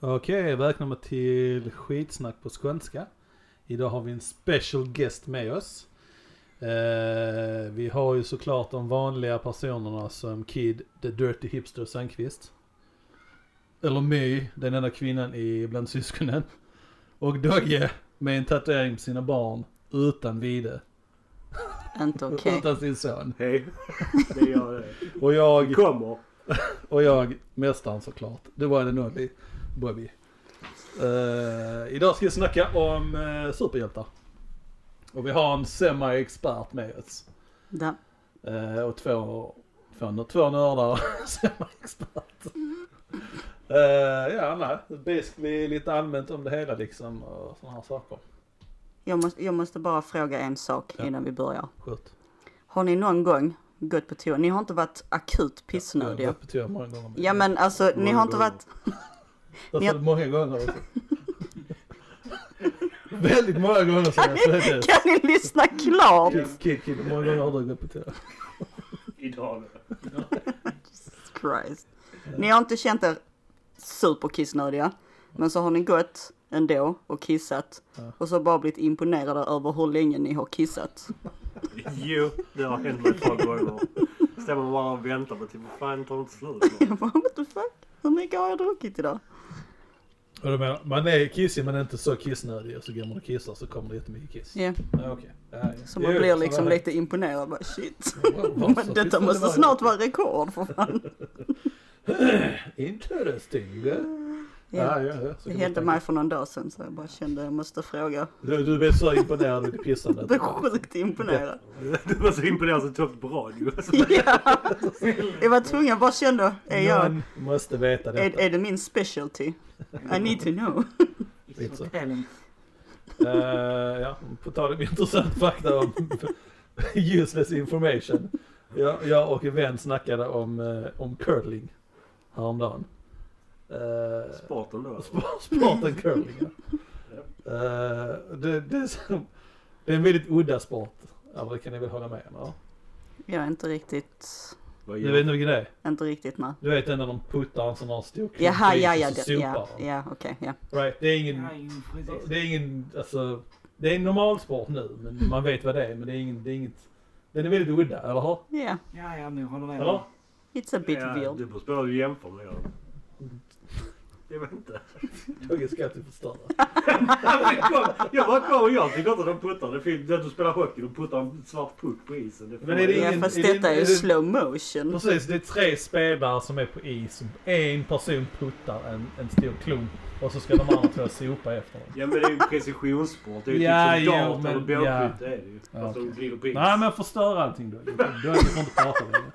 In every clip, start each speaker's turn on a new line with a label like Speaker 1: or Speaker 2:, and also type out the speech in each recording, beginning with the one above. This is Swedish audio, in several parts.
Speaker 1: Okej, välkomna till skitsnack på skånska. Idag har vi en special guest med oss. Eh, vi har ju såklart de vanliga personerna som Kid, The Dirty Hipster Sandqvist. Eller My, den enda kvinnan i bland syskonen. Och Dogge med en tatuering på sina barn utan vide.
Speaker 2: Inte okej.
Speaker 1: Utan sin son.
Speaker 3: Hej, det är jag det.
Speaker 1: Och jag,
Speaker 3: Vi kommer.
Speaker 1: och jag, mästaren såklart. Det var den only, Bobby. Eh, idag ska vi snacka om eh, superhjältar. Och vi har en semi-expert med oss.
Speaker 2: Da-
Speaker 1: Eh, och två, två, två nördar och semi-expert. Eh, ja, nej. Basically lite allmänt om det hela liksom och sådana här saker.
Speaker 2: Jag, måste, jag måste bara fråga en sak
Speaker 1: Ja.
Speaker 2: innan vi börjar.
Speaker 1: Skönt.
Speaker 2: Har ni någon gång gått på toa? Ni har inte varit akut
Speaker 1: Jag har
Speaker 2: pissnödiga?
Speaker 1: varit på toa många gånger.
Speaker 2: Ja men alltså, ni
Speaker 3: Många
Speaker 2: har inte
Speaker 3: gånger.
Speaker 2: varit...
Speaker 1: Jag har
Speaker 2: ni
Speaker 1: fått många gånger också. Väldigt många gånger sedan jag föddes.
Speaker 2: Kan ni lyssna klart?
Speaker 1: Kid, kid, kid. Hur många gånger har du gått på toa?
Speaker 3: Idag.
Speaker 2: Christ. Ni har inte känt er superkissnödiga. Men så har ni gått ändå och kissat.
Speaker 1: Ja.
Speaker 2: Och så bara blivit imponerade över hur länge ni har kissat.
Speaker 3: Jo, det har hänt mig ett par gånger. Står man bara och väntar på typ, vad fan tar inte slut nu?
Speaker 2: Jag bara, what the fuck? Hur mycket har jag druckit idag?
Speaker 1: Och du menar, man är kissig men inte så kissnödig och så går man och kissar så kommer det jättemycket kiss.
Speaker 2: Ja,
Speaker 1: Ja, okej. Ja, ja.
Speaker 2: så man
Speaker 1: Jo,
Speaker 2: blir
Speaker 1: så
Speaker 2: liksom
Speaker 1: var det.
Speaker 2: lite imponerad. Bara, shit.
Speaker 1: Wow, wow, så
Speaker 2: Men
Speaker 1: finns det
Speaker 2: detta måste
Speaker 1: varje-
Speaker 2: snart vara rekord för fan.
Speaker 1: Interesting.
Speaker 2: Ja.
Speaker 1: Ja, ja, ja. Så
Speaker 2: Det
Speaker 1: kan
Speaker 2: hände
Speaker 1: man
Speaker 2: mig för någon dag sedan så jag bara kände jag måste fråga.
Speaker 1: tänka. Du, du blev så imponerad av ditt pissande.
Speaker 2: Jag blev sjukt imponerad.
Speaker 3: Du var så imponerad så du tog på radio. Alltså,
Speaker 2: Ja. Jag var tvungen, jag bara kände, är, jag,
Speaker 1: Någon måste veta
Speaker 2: är,
Speaker 1: detta.
Speaker 2: är det min specialty? I need to know.
Speaker 1: Lite så.
Speaker 4: Talent.
Speaker 1: Eh, ja, på tal om intressant fakta om useless information. Jag, jag och en vän snackade om, eh, om curling häromdagen. Eh,
Speaker 3: Sporten då. alltså.
Speaker 1: Sp- Sporten curling ja. Eh, det, det, är så, det är en väldigt udda sport. Ja, men det kan ni väl hålla med om? Ja.
Speaker 2: Jag är inte riktigt,
Speaker 3: Vad
Speaker 1: Du vet
Speaker 3: gör
Speaker 1: nog det är.
Speaker 2: inte riktigt nej.
Speaker 1: Du vet den när de puttar en sån här stor klump
Speaker 2: Jaha,
Speaker 1: is
Speaker 2: ja,
Speaker 1: och
Speaker 2: ja,
Speaker 1: så
Speaker 2: det,
Speaker 1: sopar
Speaker 2: ja,
Speaker 1: de.
Speaker 2: ja, okej, ja.
Speaker 1: Right, det är ingen...
Speaker 4: Ja, ju, precis.
Speaker 1: Det är ingen, alltså... Det är en normal sport nu, men man vet vad det är. Men det är, ingen, det är inget... Den är väldigt udda, eller hur?
Speaker 2: Ja,
Speaker 4: Ja, ja, nu håller med.
Speaker 1: Eller?
Speaker 2: it's a bit
Speaker 3: Ja,
Speaker 2: weird.
Speaker 3: Det beror på vad du jämför med. då. Jag vet inte.
Speaker 1: Tugget ska alltid förstöra.
Speaker 3: Jag bara- Jag bara kommer. Jag tycker inte de puttar. Det är fint. Det är att du spelar hockey. De puttar en svart puck på isen. Det får
Speaker 1: Men är det-
Speaker 3: man-
Speaker 2: Ja,
Speaker 1: ingen-
Speaker 2: fast
Speaker 1: är det-
Speaker 2: detta är
Speaker 1: är
Speaker 2: ju
Speaker 1: det-
Speaker 2: slow motion.
Speaker 1: Precis, det är tre spelare som är på is. En person puttar en, en stor klump och så ska de andra två sopa efter den.
Speaker 3: Ja men det är ju en precisionssport. Det är ju
Speaker 1: Ja,
Speaker 3: typ
Speaker 1: jo,
Speaker 3: som dart eller
Speaker 1: men-
Speaker 3: bågskytte är det ju. Fast
Speaker 1: Ja,
Speaker 3: de
Speaker 1: okej.
Speaker 3: glider på is.
Speaker 1: Nej men förstör allting då. Då får du inte prata längre.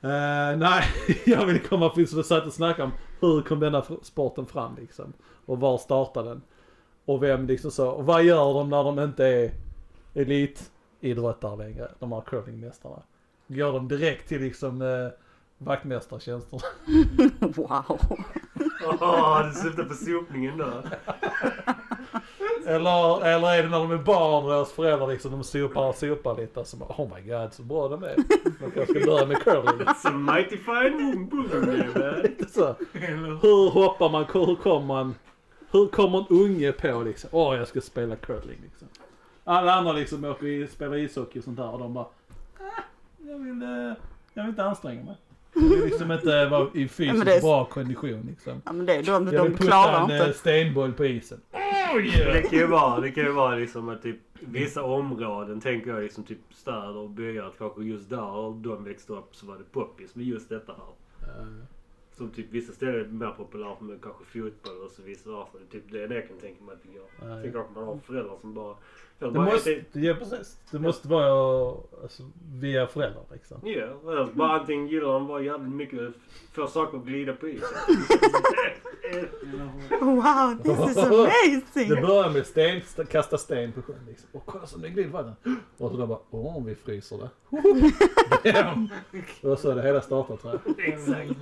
Speaker 1: Eh, nej, jag vill komma till så vi satt och snackade om hur kom denna f- sporten fram liksom. Och var startade den? Och vem liksom så, och vad gör de när de inte är elitidrottare längre? De här curlingmästarna. Går de direkt till liksom eh, vaktmästartjänster?
Speaker 2: Wow.
Speaker 3: Åh, du syftar på sopningen där.
Speaker 1: Eller, eller är det när de är barn och deras föräldrar liksom, de sopar och sopar lite. Så bara, oh my god så bra de är. De kanske ska börja med curling.
Speaker 3: It's a mighty fine moon bulldog, jävel.
Speaker 1: Lite så.
Speaker 4: Eller?
Speaker 1: Hur hoppar man, hur kommer man, hur kommer en unge på liksom, åh jag ska spela curling liksom. Alla andra liksom åker i, spelar ishockey och sånt där och de bara, "Ah, jag vill, eh, jag vill inte anstränga mig. Jag vill liksom inte vara i
Speaker 2: Ja,
Speaker 1: fysiskt
Speaker 2: men det är-
Speaker 1: bra kondition liksom.
Speaker 2: Ja men det, de,
Speaker 1: Jag
Speaker 2: de
Speaker 1: vill putta
Speaker 2: klarar
Speaker 1: en eh,
Speaker 2: inte.
Speaker 1: stenboll på isen. Oh,
Speaker 3: Det kan ju vara, det kan ju vara liksom att typ vissa områden tänker jag liksom typ städer och byar att kanske just där de växte upp så var det poppis med just detta här. Som typ vissa ställen är mer populärt med kanske fotboll och så vice versa. Det är typ det jag kan tänka mig att vi
Speaker 1: Ja,
Speaker 3: gör.
Speaker 1: ja.
Speaker 3: Sen kanske man har föräldrar som bara... Det
Speaker 1: Det
Speaker 3: bara
Speaker 1: måste, ja precis. Det måste vara alltså, via föräldrar liksom.
Speaker 3: Ja, eller bara antingen gillar de bara jävligt mycket för saker att glida på isen.
Speaker 2: Wow, this is
Speaker 1: Det
Speaker 2: amazing!
Speaker 1: börjar med sten, st- kasta sten på sjön liksom. Och kolla som det glider vatten. Och så då bara, åh vi fryser det. Damn. och så är det hela startat tror jag.
Speaker 3: Exakt.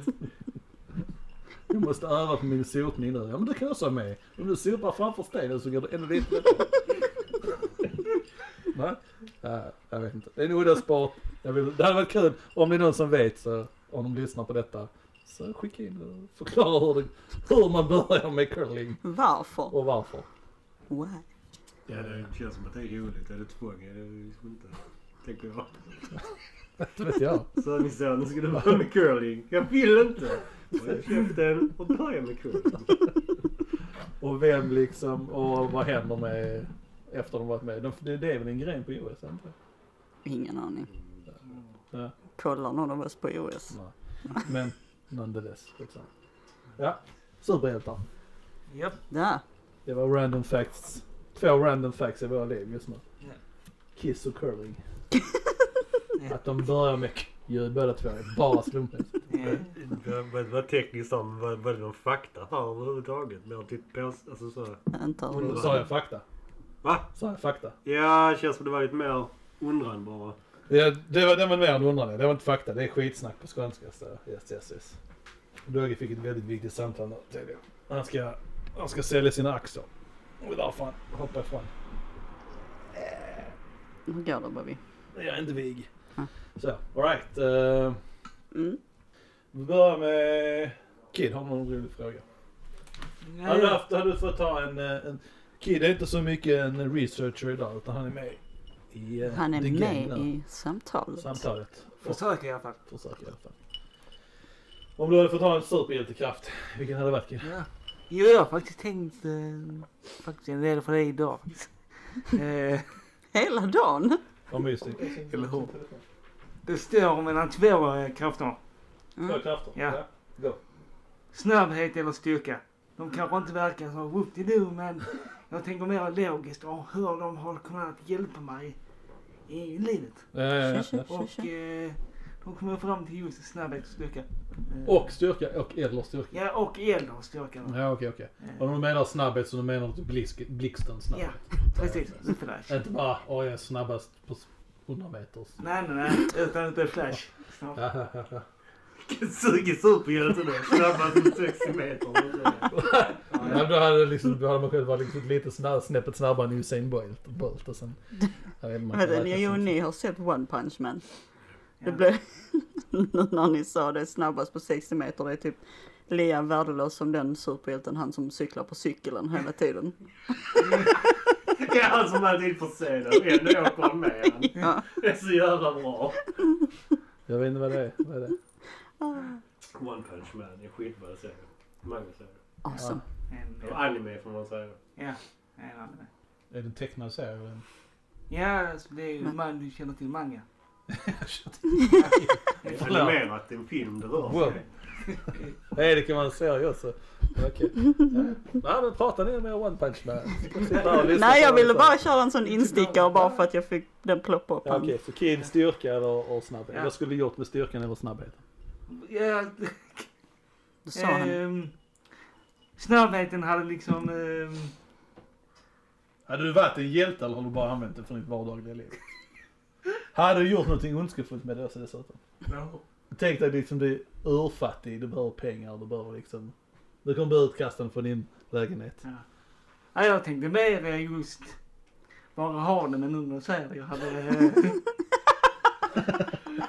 Speaker 1: Jag måste öva på min sotning nu. Ja men det kan jag också ha med. Om du sopar framför stenen så går det ännu lite lättare. Nej, Ja, jag vet inte. Det är en udda sport. Jag vill, det hade varit kul om det är någon som vet så, om de lyssnar på detta. Så skicka in och förklara hur, det, hur man börjar med curling
Speaker 2: Varför?
Speaker 1: och varför.
Speaker 2: Why?
Speaker 3: Ja, det känns som att det är roligt. Är det tvång är det liksom inte. Tänker jag.
Speaker 1: Det vet jag.
Speaker 3: Så min son skulle börja med curling. Jag vill inte! Och jag köpte den och började med curling.
Speaker 1: Och vem liksom, och vad händer med efter de varit med? De, det, det är väl en gren på OS, inte
Speaker 2: Ingen aning.
Speaker 1: ja,
Speaker 2: Kollar någon av oss på OS?
Speaker 1: nej. Men nonetheless. Liksom. Ja, superhjältar.
Speaker 4: Japp.
Speaker 2: Ja,
Speaker 1: Det var random facts. Två random facts i våra liv just nu.
Speaker 4: Ja.
Speaker 1: Kiss och curling.
Speaker 4: Ja.
Speaker 1: Att de börjar med k- ju båda två är bara slumpmässigt.
Speaker 4: Ja.
Speaker 3: Men vad tekniskt om vad vad är det någon fakta här överhuvudtaget? Mer typ pås... Alltså så.
Speaker 2: inte över-
Speaker 3: Mm.
Speaker 1: Sa jag fakta?
Speaker 3: Va?
Speaker 1: Sa jag fakta?
Speaker 3: Ja, det känns som det var lite mer undran bara.
Speaker 1: Ja, det var den var mer än undrade. Det var inte fakta. Det är skitsnack på skånska. Så yes, yes, yes. Dogge fick ett väldigt viktigt samtal nu. till det. Han ska, han ska sälja sina aktier. Och därför han hoppar ifrån.
Speaker 2: Hur går det Bobby?
Speaker 1: Jag är inte vig.
Speaker 2: Mm.
Speaker 1: Så, alright. Uh,
Speaker 2: Mm.
Speaker 1: vi börjar med... Kid har någon rolig fråga. Hade
Speaker 2: Eh.
Speaker 1: du,
Speaker 4: Nej.
Speaker 1: haft, hade du fått ta en, eh, en... Kid är inte så mycket en researcher idag utan han är med i... eh,
Speaker 2: Han är
Speaker 1: the game
Speaker 2: med
Speaker 1: nu.
Speaker 2: i samtalet.
Speaker 1: Samtalet.
Speaker 4: Försöker i alla fall.
Speaker 1: Försök i alla fall. Om du hade fått ha en superhjältekraft, vilken hade det varit? Kid?
Speaker 4: Ja. Jo, jag har faktiskt tänkt eh, faktiskt en del på det idag faktiskt. Eh,
Speaker 2: Hela dagen?
Speaker 1: Om mysig.
Speaker 4: Eller hur? det står mellan två eh, krafter.
Speaker 2: Mm.
Speaker 1: Två krafter.
Speaker 4: Ja.
Speaker 1: Go.
Speaker 4: Snabbhet eller styrka. De kanske inte verkar så whoop-de-doo men jag tänker mer logiskt och hur de har kunnat hjälpa mig i livet.
Speaker 1: Ja, ja, ja.
Speaker 2: Tjusig.
Speaker 4: Och eh, de kommer fram till just snabbhet och styrka. Eh,
Speaker 1: Och styrka och eller styrka.
Speaker 4: Ja, och äldre styrka. då.
Speaker 1: Ja okej okej.
Speaker 4: Eh,
Speaker 1: Om du menar snabbhet så du menar du blisk- blixtens
Speaker 4: Ja,
Speaker 1: snabbhet.
Speaker 4: precis. Inte flash.
Speaker 1: Inte bara åh jag är snabbast på s- 100 meters.
Speaker 4: Nej, nej, nej. Utan inte flash. Snart.
Speaker 3: Vilken sugig superhjälte du är. Snabbast med 60 meter.
Speaker 1: Ja, då hade, det liksom, då hade man själv varit liksom lite snab- snäppet snabbare än Usain Bolt. Bolt och sen, jag vet, inte, man kan
Speaker 2: Vänta,
Speaker 1: räkna
Speaker 2: ni, jo,
Speaker 1: som-
Speaker 2: ni har sett One Punch Man. Det
Speaker 4: Ja.
Speaker 2: blev... nu när ni sa det snabbast på 60 meter, det är typ lika värdelös som den superhjälten, han som cyklar på cykeln hela tiden.
Speaker 3: Det är han som alltid är försenad. Ändå åker han med han.
Speaker 2: Ja.
Speaker 3: Det är så jävla bra.
Speaker 1: Jag vet inte vad det är. Vad är det?
Speaker 3: One Punch Man är skitbra serie. Mange serier.
Speaker 2: Awesome.
Speaker 4: En,
Speaker 3: Och anime får man säga.
Speaker 4: ja, en annan.
Speaker 1: Är det en tecknad serie?
Speaker 4: Ja, alltså, det är ju man du känner till manga.
Speaker 3: Det är
Speaker 1: Förlåt.
Speaker 3: animerat det är en film det rör sig
Speaker 1: Wow.
Speaker 3: om.
Speaker 1: Nej, det kan vara en serie också. Okej. Ja. Nej, men pratar ni med One Punch Man? Sitta och lyssna
Speaker 2: Nej,
Speaker 1: på
Speaker 2: jag
Speaker 1: vad ni
Speaker 2: ville
Speaker 1: sa.
Speaker 2: bara köra en sån instickare bara för att jag fick den ploppa upp.
Speaker 1: Ja, Okej, så kid, styrka eller, och snabbhet.
Speaker 4: Ja.
Speaker 1: Jag skulle gjort med styrkan eller snabbheten.
Speaker 4: Ja,
Speaker 2: Då sa han.
Speaker 4: ehm, snabbheten hade liksom... ehm,
Speaker 1: Hade du varit en hjälte eller har du bara använt det för ditt vardagliga liv? Hade du gjort någonting ondskefullt med det också dessutom? Tänk dig liksom du är urfattig, du behöver pengar, du behöver liksom... Du kommer bli utkastad från din lägenhet.
Speaker 4: ja. ja, jag tänkte mer eh, just bara ha den men nu när du säger det. Jag hade... eh,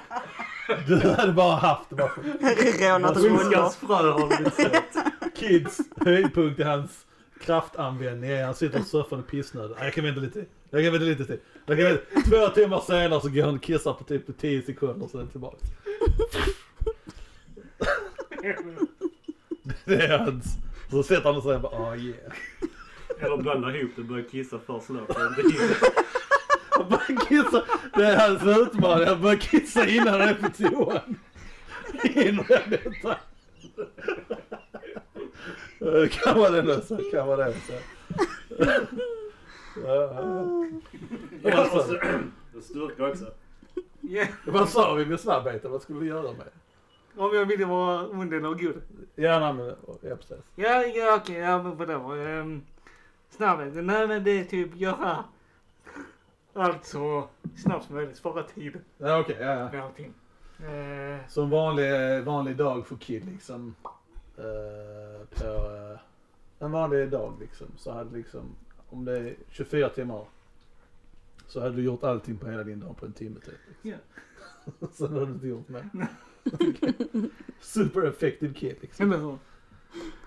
Speaker 1: Du hade bara haft bara,
Speaker 2: Rånat rullor.
Speaker 3: Ondskans frö har blivit sett.
Speaker 1: kids höjdpunkt i hans kraftanvändning är han sitter i soffan och är pissnödig. Nej, Jag kan vänta lite till. Jag kan vänta lite till. Jag kan vänta. Två timmar senare så går han och kissar på typ 10 sekunder och sen är han tillbaka. Det är hans. Så sätter han och säger bara ah yeah.
Speaker 3: Eller blandar ihop det och börjar kissa för snabbt. Det är inte-
Speaker 1: Han börjar kissa. Det är hans utmaning. Han börjar kissa innan han är på toan. Innan detta. Det Eh, kan vara det nu så. Kan vara det så. Ja.
Speaker 3: Ja, och så- och Styrka också.
Speaker 4: ja,
Speaker 1: Vad sa vi med snabbheten? Vad skulle vi göra med?
Speaker 4: om jag ville vara ond eller god.
Speaker 1: Ja, nej, men, ja precis.
Speaker 4: Ja, ja okej, ja men vadå. Um, snabbheten, nej men det är typ göra allt så snabbt som möjligt. Spara tid.
Speaker 1: Ja, okej, ja, ja.
Speaker 4: Någonting. Eh,
Speaker 1: Så en vanlig, vanlig dag för Kid liksom. eh, på, eh, en vanlig dag liksom. Så hade liksom, om det är 24 timmar. Så hade du gjort allting på hela din dag på en timme typ.
Speaker 4: Ja.
Speaker 1: Sen hade du inte gjort mer. Super effective kid liksom.
Speaker 4: Eller hur?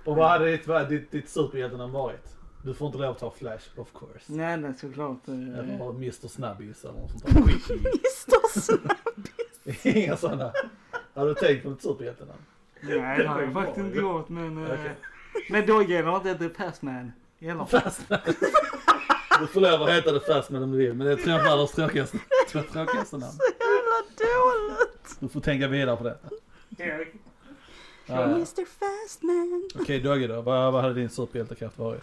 Speaker 1: Och vad hade ditt, vad hade ditt, ditt superhjältenamn varit? Du får inte lov att ta Flash, of course.
Speaker 4: Nej, nej såklart. eh,
Speaker 1: Eller Mr Snabbis eller något sånt där. Skit
Speaker 2: Mr. Snabb.
Speaker 1: i. Inga sådana. Har du tänkt på ett superhjältenamn?
Speaker 4: Nej, det har jag faktiskt inte gjort. Men, eh,
Speaker 1: Okej.
Speaker 4: men då gäller inte The Passman. Gäller.
Speaker 1: Fastman. Du får lov att heta det Fastman om du vill, men det är tre av världens tråkigaste, två tråkigaste namn.
Speaker 2: Så jävla dåligt.
Speaker 1: Du får tänka vidare på detta.
Speaker 4: Erik.
Speaker 1: Ja, ja.
Speaker 2: Mr. Fastman.
Speaker 1: Okej Dogge då, vad, vad hade din superhjältekraft varit?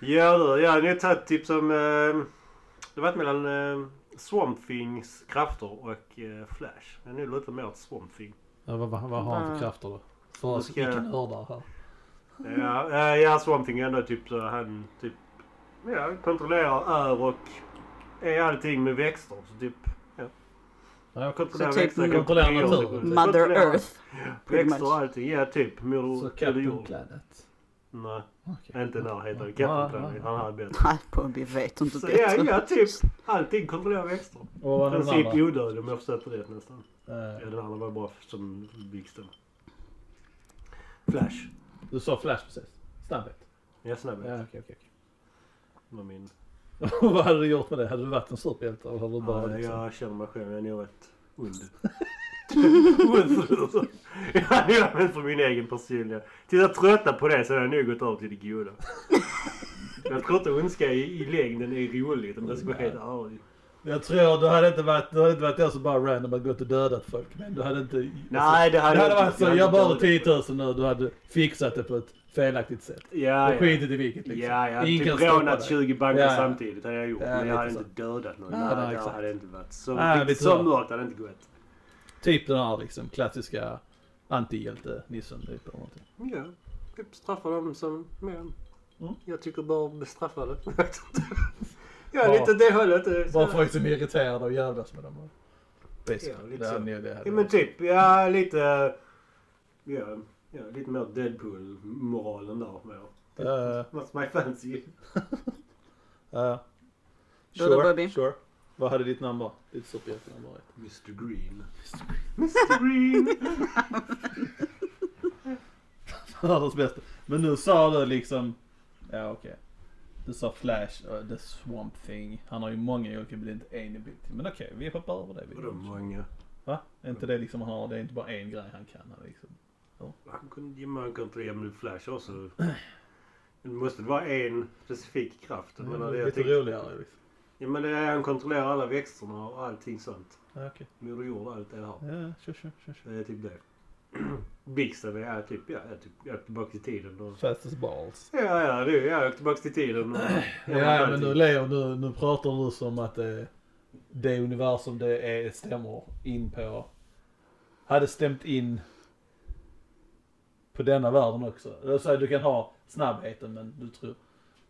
Speaker 3: Ja du, jag hade nog tagit typ som... Eh, det varit mellan eh, Swamp Things krafter och eh, Flash. Men nu lite mer åt Swamp Thing.
Speaker 1: Ja, vad, vad, vad har han för
Speaker 2: Mm.
Speaker 1: krafter då? För oss
Speaker 3: Ska jag-
Speaker 1: icke-nördar här.
Speaker 3: Ja, eh, ja Swamp Thing är ändå typ så han typ... Ja, kontrollerar är och är allting med växter. Så typ... Ja.
Speaker 1: Ja, jag
Speaker 3: Kontrollerar
Speaker 2: Så typ
Speaker 3: växter. kan-
Speaker 1: kontrollerar
Speaker 3: ja,
Speaker 1: naturen.
Speaker 3: så-
Speaker 2: Mother
Speaker 3: kontrollerar
Speaker 2: Earth. pretty
Speaker 3: Växter och
Speaker 2: much.
Speaker 3: allting. Ja, typ. Mor,
Speaker 1: Så
Speaker 3: eller
Speaker 1: Captain
Speaker 3: jord.
Speaker 1: Planet.
Speaker 3: Nej,
Speaker 1: Okej.
Speaker 3: inte när heter
Speaker 1: Ja,
Speaker 3: det. Captain
Speaker 1: ja,
Speaker 3: Planet.
Speaker 1: ja.
Speaker 3: Han hade bättre.
Speaker 2: Nej, Bobby vet inte
Speaker 3: Så ja,
Speaker 2: bättre.
Speaker 3: ja, typ. Allting kontrollerar växter.
Speaker 1: Och vad
Speaker 3: I
Speaker 1: hade den
Speaker 3: princip
Speaker 1: andra?
Speaker 3: odödlig om jag förstått det rätt nästan. Ja,
Speaker 1: Eh,
Speaker 3: den andra var bara som blixten. Flash.
Speaker 1: Du sa Flash precis. Snabbhet.
Speaker 3: Ja, snabbhet.
Speaker 1: Ja, okej, okej. okej.
Speaker 3: var min.
Speaker 1: Och vad hade du gjort med det? Hade du varit en superhjälte eller hade du bara
Speaker 3: ja,
Speaker 1: liksom...
Speaker 3: jag känner mig själv. Jag är nog rätt ond. Ond. Jag har använt för min egen personliga. Tills jag tröttnar på det så har jag nog gått över till det goda. Jag tror inte ondska i, i längden är roligt om jag ska vara helt ärlig.
Speaker 1: Jag tror du hade inte varit, du hade inte varit den som bara random hade gått och dödat folk. Men du hade inte... alltså,
Speaker 3: Nej, det
Speaker 1: Det
Speaker 3: hade
Speaker 1: hade
Speaker 3: inte-
Speaker 1: varit så,
Speaker 3: hade
Speaker 1: jag
Speaker 3: inte
Speaker 1: behöver
Speaker 3: varit det.
Speaker 1: 10 000 nu. Du hade fixat det på ett felaktigt sätt.
Speaker 3: Ja,
Speaker 1: och
Speaker 3: ja.
Speaker 1: skitit i vilket liksom.
Speaker 3: Ja, jag hade
Speaker 1: Ingen
Speaker 3: typ
Speaker 1: kan stoppa
Speaker 3: rånat
Speaker 1: dig.
Speaker 3: 20 banker
Speaker 1: Ja, ja.
Speaker 3: samtidigt hade jag gjort.
Speaker 1: Ja,
Speaker 3: men jag
Speaker 1: lite
Speaker 3: hade
Speaker 1: så.
Speaker 3: inte dödat någon.
Speaker 1: Ja,
Speaker 3: Nej,
Speaker 1: nej,
Speaker 3: det
Speaker 1: exakt.
Speaker 3: hade inte varit. Så,
Speaker 1: Nej,
Speaker 3: riktigt
Speaker 1: lite
Speaker 3: så
Speaker 1: så.
Speaker 3: mörkt hade det inte gått.
Speaker 1: Typ den här liksom klassiska antihjälte-nissen typ eller någonting.
Speaker 3: Ja, typ straffa dem som men
Speaker 1: Mm.
Speaker 3: jag tycker bara bestraffade. ja,
Speaker 1: Bara-
Speaker 3: lite det hållet. eh, så-
Speaker 1: Bara folk som är irriterade och jävlas med dem.
Speaker 3: Ja,
Speaker 1: Basically.
Speaker 3: lite
Speaker 1: det hade
Speaker 3: så.
Speaker 1: ni- det hade
Speaker 3: Ja, men
Speaker 1: varit.
Speaker 3: typ. Ja, lite... Ja, ja lite mer Deadpool-moralen där. Med.
Speaker 1: Eh,
Speaker 3: What's my fancy?
Speaker 1: eh,
Speaker 2: Då är det Bobby.
Speaker 1: sure. Vad hade ditt namn varit? Ditt superhjältenamn varit?
Speaker 3: Mr Green. Mr Green!
Speaker 1: Världens bästa. Men nu sa du liksom... Ja okej. Du sa Flash och The Swamp Thing. Han har ju många olika, men det är inte en ability. Men okej, vi hoppar över det. Vi
Speaker 3: Vadå många?
Speaker 1: Va? Är inte det liksom han har? Det är inte bara en grej han kan. Han liksom.
Speaker 3: Han kunde, man kunde inte jämna upp Flash också. Det måste vara en specifik kraft. Jag menar, det typ- jag
Speaker 1: lite
Speaker 3: tyckte-
Speaker 1: roligare liksom.
Speaker 3: Ja men det är, han kontrollerar alla växterna och allting sånt.
Speaker 1: Ja, okej.
Speaker 3: Moder jord och allt det här.
Speaker 1: Ja, kör, kör, kör. kör.
Speaker 3: Det är typ det. Blixten är typ, ja, jag är typ, jag är tillbaka till tiden och...
Speaker 1: Fast as balls.
Speaker 3: Ja, ja, du, jag är tillbaka till tiden och...
Speaker 1: Ja, ja, typ. men nu lever nu, nu pratar du som att det, det universum det är stämmer in på. Hade stämt in på denna världen också. Det vill säga, du kan ha snabbheten men du tror.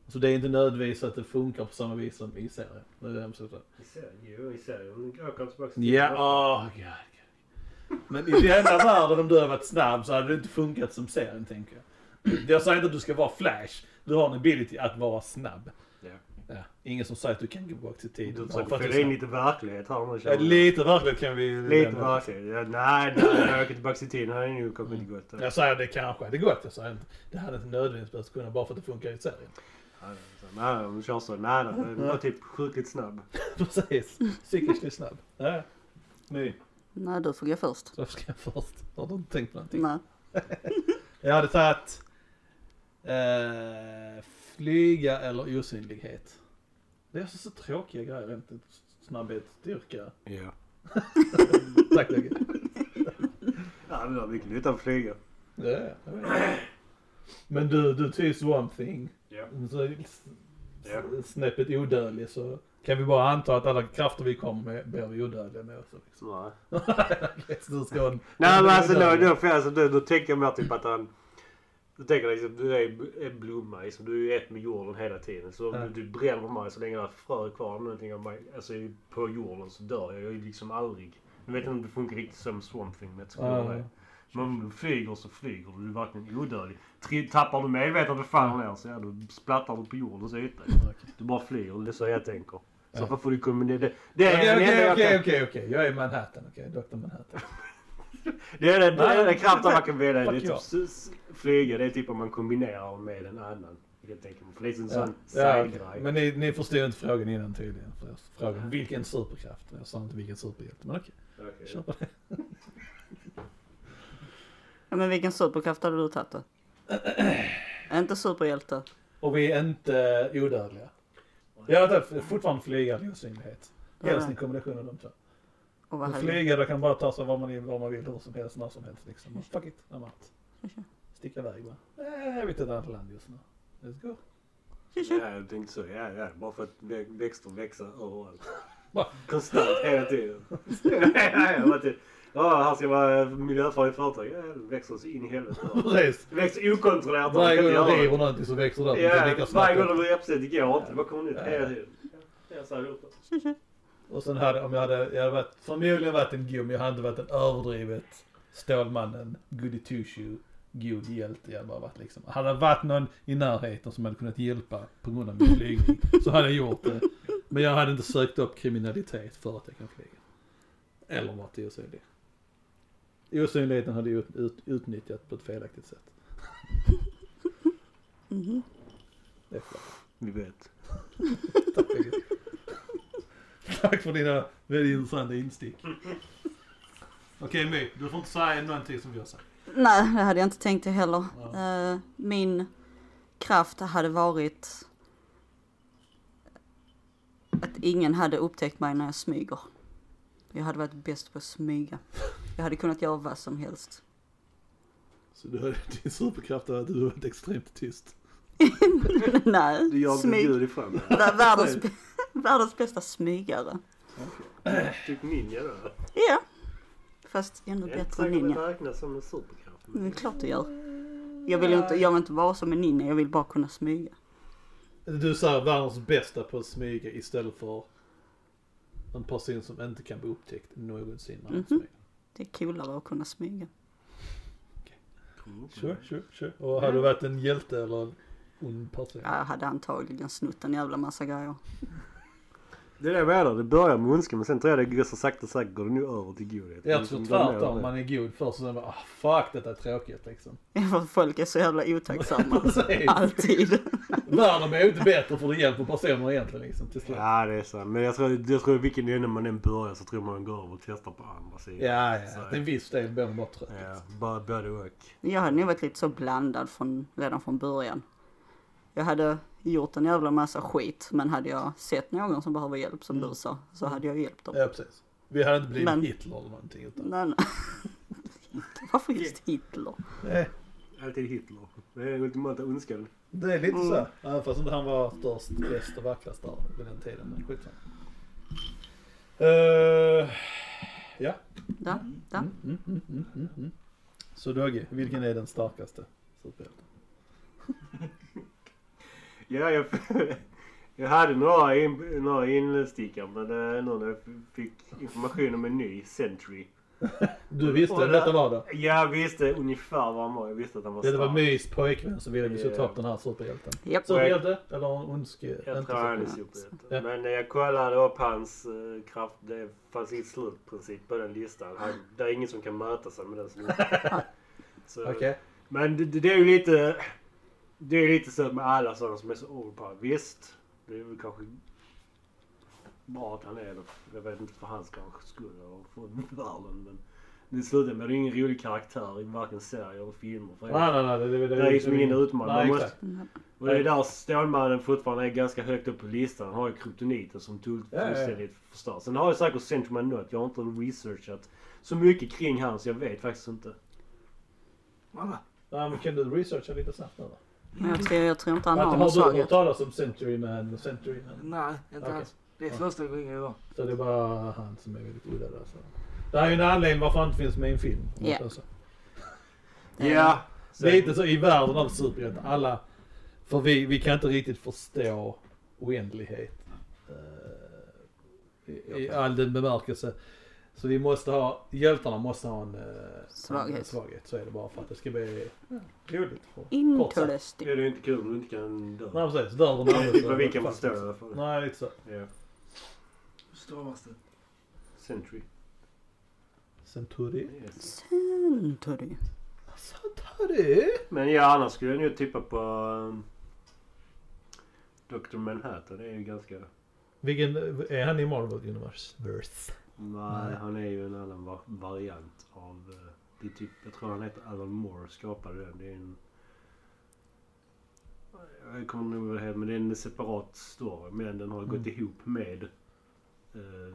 Speaker 1: Så det är inte nödvändigtvis att det funkar på samma vis som i serien. Det är det jag försöker säga.
Speaker 3: Jo, i serien. Jag kom tillbaka till
Speaker 1: Ja, åh god. god. Men i denna världen om du hade varit snabb så hade det inte funkat som serien tänker jag. Jag säger inte att du ska vara flash. Du har en ability att vara snabb.
Speaker 3: Ja.
Speaker 1: Ja. Ingen som säger att du kan gå bak till tiden.
Speaker 3: Du
Speaker 1: bara för
Speaker 3: försöker
Speaker 1: att du är
Speaker 3: fylla in
Speaker 1: snabb.
Speaker 3: lite verklighet här nu
Speaker 1: Ja,
Speaker 3: känner jag.
Speaker 1: lite verklighet kan vi...
Speaker 3: Lite verklighet. Ja, nej, nej, jag åker tillbaka till tiden. Han är nog kanske inte gått.
Speaker 1: Jag säger det kanske hade gått. Jag säger inte. Det hade inte nödvändigtvis behövt kunna bara för att det funkar i serien.
Speaker 3: Nej, nej, om du kör så. Nej, nej, den var typ sjukligt snabb.
Speaker 1: Precis. Cykliskt snabb. Ja. Nej.
Speaker 2: Nej, du får gå först.
Speaker 1: Så ska jag först? Har du inte tänkt på någonting?
Speaker 2: Nej.
Speaker 1: Jag hade tagit eh, flyga eller osynlighet. Det är alltså så tråkiga grejer. Rent snabbhet, styrka.
Speaker 3: Ja.
Speaker 1: Tack Lugge.
Speaker 3: Ja, men det var mycket nytta av flyga.
Speaker 1: Ja, ja, jag vet. Men du, du tog Swamp Thing.
Speaker 3: Ja.
Speaker 1: Så, s-
Speaker 3: Ja.
Speaker 1: snäppet odödlig så kan vi bara anta att alla krafter vi kommer med blir vi odödliga med också. Liksom.
Speaker 3: Nej.
Speaker 1: Så du ska ha en,
Speaker 3: Nej
Speaker 1: en
Speaker 3: men alltså då,
Speaker 1: odödlig.
Speaker 3: då, för alltså, då, då tänker jag mer typ att han... Då tänker jag liksom du är en blomma liksom. Du är ett med jorden hela tiden. Så om
Speaker 1: Ja.
Speaker 3: du typ bränner mig så länge det är ett frö kvar eller någonting av mig. Alltså på jorden så dör jag. Jag är liksom aldrig... Nu vet jag inte om det funkar riktigt som Swamp Thing med ett skor
Speaker 1: Ja.
Speaker 3: där. Men om du flyger så flyger du. Du är verkligen odödlig. Tri- Tappar du medvetandet och faller ner så ja, då splattar du på jordens yta.
Speaker 1: Okej.
Speaker 3: Du bara flyger. Det är så jag tänker. Så varför får du kombinera det? Det är
Speaker 1: Okej,
Speaker 3: den enda
Speaker 1: okej,
Speaker 3: jag
Speaker 1: okej,
Speaker 3: kan-
Speaker 1: okej, okej. Jag är Manhattan, okej. Dr Manhattan.
Speaker 3: det är den- det är den
Speaker 1: Nej,
Speaker 3: kraften man kan välja. Det är
Speaker 1: fuck
Speaker 3: typ
Speaker 1: ja.
Speaker 3: s- s- flyga. Det är typ om man kombinerar med en annan. Helt enkelt. För det är en
Speaker 1: Ja,
Speaker 3: sån
Speaker 1: ja, okej.
Speaker 3: side guy.
Speaker 1: men ni, ni förstod inte frågan innan tydligen. Frågan vilken superkraft? Jag sa inte vilken superhjälte, men okej.
Speaker 3: Okej.
Speaker 1: Kör på det.
Speaker 2: Ja, men vilken superkraft hade du tagit då? Inte superhjälte.
Speaker 1: Och vi är inte odödliga. Jag har fortfarande flyga eller osynlighet. Helst en kombination av de två.
Speaker 2: Och vad
Speaker 1: Men
Speaker 2: hade du?
Speaker 1: flyga, då kan man bara ta sig var man, var man vill, hur som helst, när som helst. Liksom. Och Fuck it, I'm out. Sticka iväg bara. Nej, jag vill till ett annat land just nu. Let's go.
Speaker 3: Ja, jag tänkte så. Ja, ja. Bara för att vä- växter växer överallt.
Speaker 1: Va?
Speaker 3: Konstant hela tiden. ja, ja, ja. bara typ, Ja, här ska vara miljöfarligt företag. Ja, det växer så in i helvete.
Speaker 1: Precis.
Speaker 3: Det växer okontrollerat. man
Speaker 1: Varje
Speaker 3: kan
Speaker 1: gång
Speaker 3: inte
Speaker 1: jag
Speaker 3: göra det.
Speaker 1: river någonting så växer det upp. Det är
Speaker 3: Ja,
Speaker 1: lika
Speaker 3: varje gång
Speaker 1: snabbt.
Speaker 3: de blir uppsatt. Det går inte. Det bara kommer nytt
Speaker 1: Ja.
Speaker 3: hela tiden. Ja, jag sa det åt dem.
Speaker 1: Och sen hade, om jag hade, jag hade varit, förmodligen varit en god, men jag hade inte varit en överdrivet Stålmannen, goody two shoe, god hjälte. Jag hade bara varit liksom, hade det varit någon i närheten som hade kunnat hjälpa på grund av min flygning så hade jag gjort det. Men jag hade inte sökt upp kriminalitet för att jag kan flyga. Eller varit osynlig. Osynligheten hade jag ut, ut, utnyttjat på ett felaktigt sätt. Det är klart.
Speaker 3: Vi vet.
Speaker 1: Tack, Birgit. Tack för dina väldigt intressanta instick. Okej My, du får inte säga någonting som vi har sagt.
Speaker 2: Nej, det hade jag inte tänkt det heller.
Speaker 1: Ja.
Speaker 2: Eh, min kraft hade varit att ingen hade upptäckt mig när jag smyger. Jag hade varit bäst på att smyga. Jag hade kunnat göra vad som helst.
Speaker 1: Så du har, din superkraft är att du har varit extremt tyst.
Speaker 3: Du
Speaker 2: Nej,
Speaker 3: jagar
Speaker 2: smyg.
Speaker 3: ljud ifrån mig.
Speaker 2: Vär- Världens, världens bästa smygare.
Speaker 3: Typ ninja då.
Speaker 2: Ja, fast ännu
Speaker 3: Jag är inte
Speaker 2: bättre Mm. än
Speaker 3: säker på att
Speaker 2: ninja.
Speaker 3: det räknas som en superkraft.
Speaker 2: Det är klart du gör. Jag vill ju inte, jag vill inte vara som en ninja, jag vill bara kunna smyga.
Speaker 1: Du säger världens bästa på att smyga istället för en person som inte kan bli upptäckt någonsin när han
Speaker 2: Mhm.
Speaker 1: smyger.
Speaker 2: Det är coolare att kunna smyga.
Speaker 1: Sure, sure, sure. Och har du varit en hjälte eller en ond person?
Speaker 2: Ja, jag hade antagligen snott en jävla massa grejer.
Speaker 3: Det är det jag menar. Det börjar med ondska men sen tror jag det går så sakta säkert går det nu över till godhet. Liksom,
Speaker 1: Jag tror tvärtom, man är god först och sen bara ah, fuck detta är tråkigt liksom.
Speaker 2: För att folk är så jävla otacksamma.
Speaker 1: Precis.
Speaker 2: Alltid.
Speaker 1: Världen blir ju inte bättre för det hjälper personer egentligen liksom till slut.
Speaker 3: Ja det är så. Men jag tror, jag tror vilken ände man än börjar så tror man går över och testar på andra sidan.
Speaker 1: Ja, ja.
Speaker 3: Så-
Speaker 1: Att en viss del blir man bara trött.
Speaker 3: Ja, bara både och.
Speaker 2: Jag hade nog varit lite så blandad från, redan från början. Jag hade gjort en jävla massa skit, men hade jag sett någon som behöver hjälp som du sa, så hade jag hjälpt dem.
Speaker 1: Mm. Ja, precis. Vi hade inte blivit
Speaker 2: Men-
Speaker 1: Hitler eller någonting utan...
Speaker 2: Men, varför just Hitler?
Speaker 1: Nej,
Speaker 3: Alltid Hitler. Det är den ultimata ondskan.
Speaker 1: det är lite
Speaker 2: Mm.
Speaker 1: så. Även fast inte han var störst, bäst och vackrast där vid den tiden. Men skitsamma. Eh, ja.
Speaker 2: Ja, ja.
Speaker 1: Mm, mm, mm, mm, mm, mm. Så Dogge, vilken är den starkaste superhjälten?
Speaker 3: Ja, jag, jag hade några, in, några instickare men eh, nu när jag fick information om en ny Sentry.
Speaker 1: Du visste
Speaker 3: Och
Speaker 1: vem detta var då?
Speaker 3: Jag visste ungefär vad han var. Jag visste att han var
Speaker 1: Det var
Speaker 3: stark.
Speaker 1: Mys pojkvän som ville att vi skulle ta
Speaker 3: Ja.
Speaker 1: upp den här superhjälten.
Speaker 2: Japp.
Speaker 1: Superhjälte? Eller en ondske?
Speaker 3: Jag
Speaker 1: inte
Speaker 3: tror han är
Speaker 1: superhjälte.
Speaker 3: superhjälte.
Speaker 1: Ja.
Speaker 3: Men när jag kollade upp hans eh, kraft. Det fanns inget slutprincip på den listan. Han, det är ingen som kan möta sig med den som Så-
Speaker 1: Okej.
Speaker 3: Men det, det det är ju lite... Det är lite så med alla sådana som är så overpowered. Visst, det är väl kanske bra att han är det. Jag vet inte för hans kanske skull och för världen. Men det slutar med det är ingen rolig karaktär i varken serier eller filmer. För
Speaker 1: Nej, nej, nej. Det, det,
Speaker 3: Det är ju som ingen utmaning.
Speaker 1: Nej,
Speaker 3: Man
Speaker 1: exakt.
Speaker 3: Och det är där Stålmannen fortfarande är ganska högt upp på listan. Han har ju kryptoniten som tull-
Speaker 1: Ja, ja, ja.
Speaker 3: fullständigt förstör. Sen har ju säkert Sentryman något. Jag har inte researchat så mycket kring han så jag vet faktiskt inte.
Speaker 4: Alla.
Speaker 1: Ja, men kan du researcha lite snabbt nu då?
Speaker 2: Men jag tror, jag tror inte han har
Speaker 1: Att,
Speaker 2: någon
Speaker 1: har du hört
Speaker 2: svaghet.
Speaker 1: talas om Century Man och Century Man?
Speaker 4: Nej, inte
Speaker 1: Okej.
Speaker 4: alls. Det är
Speaker 1: Ja.
Speaker 4: första gången jag var.
Speaker 1: Så det är bara han som är väldigt udda där. Så. Det här är ju en anledning varför han inte finns med i en film. Alltså. om man
Speaker 2: Ja.
Speaker 1: säger så.
Speaker 2: Det är-
Speaker 4: Eh,
Speaker 3: Så-
Speaker 1: Lite så i världen av superhjältar. Alla... För vi, vi kan inte riktigt förstå oändlighet. eh, i, I all den bemärkelse. Så vi måste ha... Hjältarna måste ha en... eh,
Speaker 2: Svaghet.
Speaker 1: En svaghet. Så är det bara för att det ska bli ja, roligt. och-
Speaker 2: Eh,
Speaker 1: kort sagt.
Speaker 2: Interesting.
Speaker 3: Det är ju inte kul om du inte kan dö.
Speaker 1: Nej precis. Dör den
Speaker 3: Det är typ vad vi
Speaker 1: så-
Speaker 3: kan förstå i alla fall.
Speaker 1: Nej, lite så.
Speaker 3: Ja.
Speaker 4: stavas det?
Speaker 3: Century.
Speaker 5: Centuri.
Speaker 3: Yes.
Speaker 2: Century.
Speaker 5: Centuri!
Speaker 3: Men ja, annars skulle jag nu tippa på... Um, Dr. Manhattan är ju ganska...
Speaker 1: Vilken, är han i Marvel Universe? Verse.
Speaker 3: Nej,
Speaker 1: Nej.
Speaker 3: han är ju en annan va- variant av... eh, det är typ, jag tror han heter Alan Moore skapade den. Det är en... Jag kommer nog ihåg det, men det är en separat story. Men den har gått ihop med eh,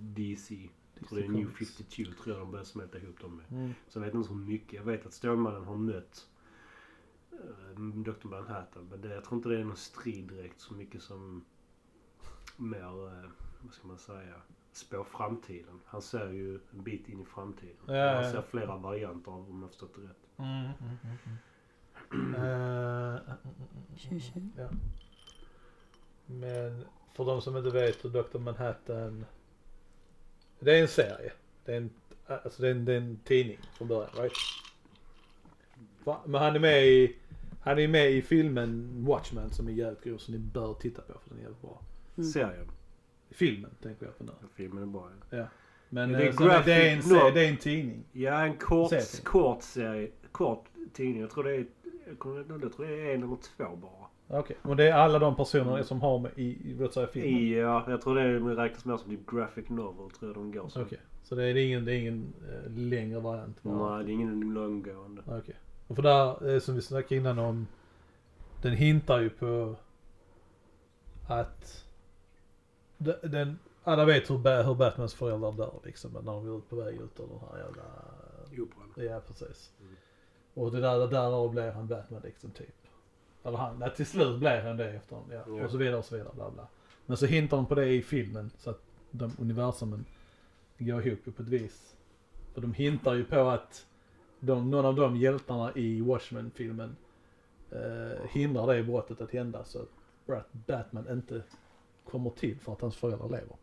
Speaker 3: DC. Jag tror det är New 52 tror jag de börjar smälta ihop dem med.
Speaker 1: Mm.
Speaker 3: Så jag vet inte så mycket. Jag vet att Stålmannen har mött eh, Dr. Manhattan. Men det, jag tror inte det är någon strid direkt så mycket som mer, eh, vad ska man säga, spår framtiden. Han ser ju en bit in i framtiden.
Speaker 1: Ja,
Speaker 3: han
Speaker 1: ja.
Speaker 3: ser flera varianter av om jag förstått det rätt.
Speaker 1: Mm, mm, mm, mm. Eh, mm, mm, mm, mm. Ja. Men för de som inte vet så Dr. Manhattan. Det är en serie. Det är en, alltså det är en, det är en tidning från början. Right? Va? Men han är med i han är med i filmen Watchmen som är jävligt grov som ni bör titta på för den är jävligt bra.
Speaker 2: Mm.
Speaker 3: Serien.
Speaker 1: Filmen tänker jag på nu.
Speaker 3: Filmen är bra. ja.
Speaker 1: Men
Speaker 3: Men det är
Speaker 1: eh, så det, det, är en,
Speaker 3: graphic
Speaker 1: serie,
Speaker 3: novel.
Speaker 1: det är en tidning.
Speaker 3: Ja, en kort,
Speaker 1: Serieting.
Speaker 3: kort serie. Kort tidning. Jag tror det är, jag kommer inte ihåg, jag tror det är en eller två bara.
Speaker 1: Okej, och det är alla de personer som har med i, i låt säga filmen.
Speaker 3: Ja, jag tror det är- det räknas mer som typ graphic novel tror jag de går som.
Speaker 1: Okej, så det är ingen, det är ingen eh, längre variant? bara?
Speaker 3: Nej, det är ingen långgående.
Speaker 1: Okej. Och för där, eh, som vi snackade innan om, den hintar ju på att de- den, alla vet hur, Ba- hur Batmans föräldrar dör liksom, när de går ut på väg ut ur den här jävla...
Speaker 3: Operan.
Speaker 1: Ja, precis. Och det där, därav blev han Batman liksom, typ. Eller han, nej, till slut blev han det efter ja,
Speaker 3: Ja.
Speaker 1: och så vidare och så vidare, bla bla. Men så hintar de på det i filmen, så att de universumen går ihop ju på ett vis. För de hintar ju på att de, någon av de hjältarna i Watchmen-filmen eh, hindrar det brottet att hända så att Bat- Batman inte kommer till för att hans föräldrar lever.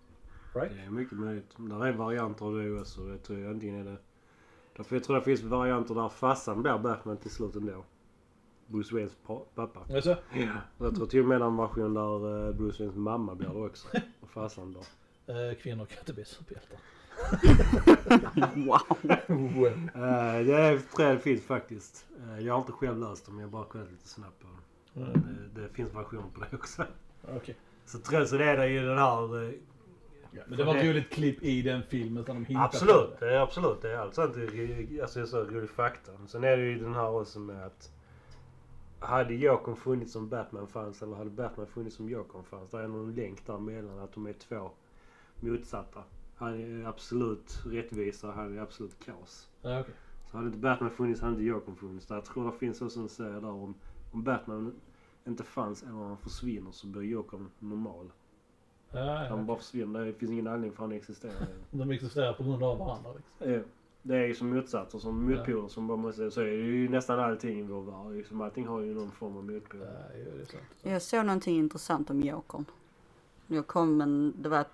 Speaker 1: Right?
Speaker 3: Det är mycket möjligt. Där är varianter av det också. Jag tror jag antingen är det... Därför jag tror det finns varianter där farsan blir Batman till slut ändå. Bruce Waynes pa- pappa.
Speaker 1: Är det så?
Speaker 3: Ja. Jag tror till och med en version där eh, Bruce Waynes mamma blir det också. Och farsan då.
Speaker 1: Eh, kvinnor kan inte bli superhjältar.
Speaker 2: Wow.
Speaker 3: Eh, det är, tror jag det finns faktiskt. Eh, jag har inte själv läst dem, jag har bara kollat lite snabbt på dem.
Speaker 1: Mm.
Speaker 3: Eh, det finns versioner på det också.
Speaker 1: Okej.
Speaker 3: Så tror jag så det är det ju den här eh,
Speaker 1: Ja, men det var ett roligt klipp i den filmen som de hittade
Speaker 3: Absolut,
Speaker 1: på
Speaker 3: det är absolut. Det är alltså inte alltså, jag sa rolig fakta. Men Sen är det ju den här också med att hade Jokern funnits som Batman fanns eller hade Batman funnits som Jokern fanns. Det är någon länk däremellan att de är två motsatta. Han är absolut rättvisa, han är absolut kaos.
Speaker 1: det. Ja, okej.
Speaker 3: Så hade inte Batman funnits hade inte Jokern funnits. Där jag tror det finns också en serie där om, om Batman inte fanns eller om han försvinner så blir Jokern normal.
Speaker 1: ja, ja.
Speaker 3: Han bara försvinner. Det finns ingen anledning för han att existera längre.
Speaker 1: De existerar på grund av varandra. Liksom.
Speaker 3: Ja, Eh, Det är ju som motsatser, som motpoler som bara måste... Så är det ju nästan allting i vår värld. Liksom, allting har ju någon form av motpol.
Speaker 1: Ja, ju, det är sant.
Speaker 2: Jag såg någonting intressant om Jokern. Jag kom men det var ett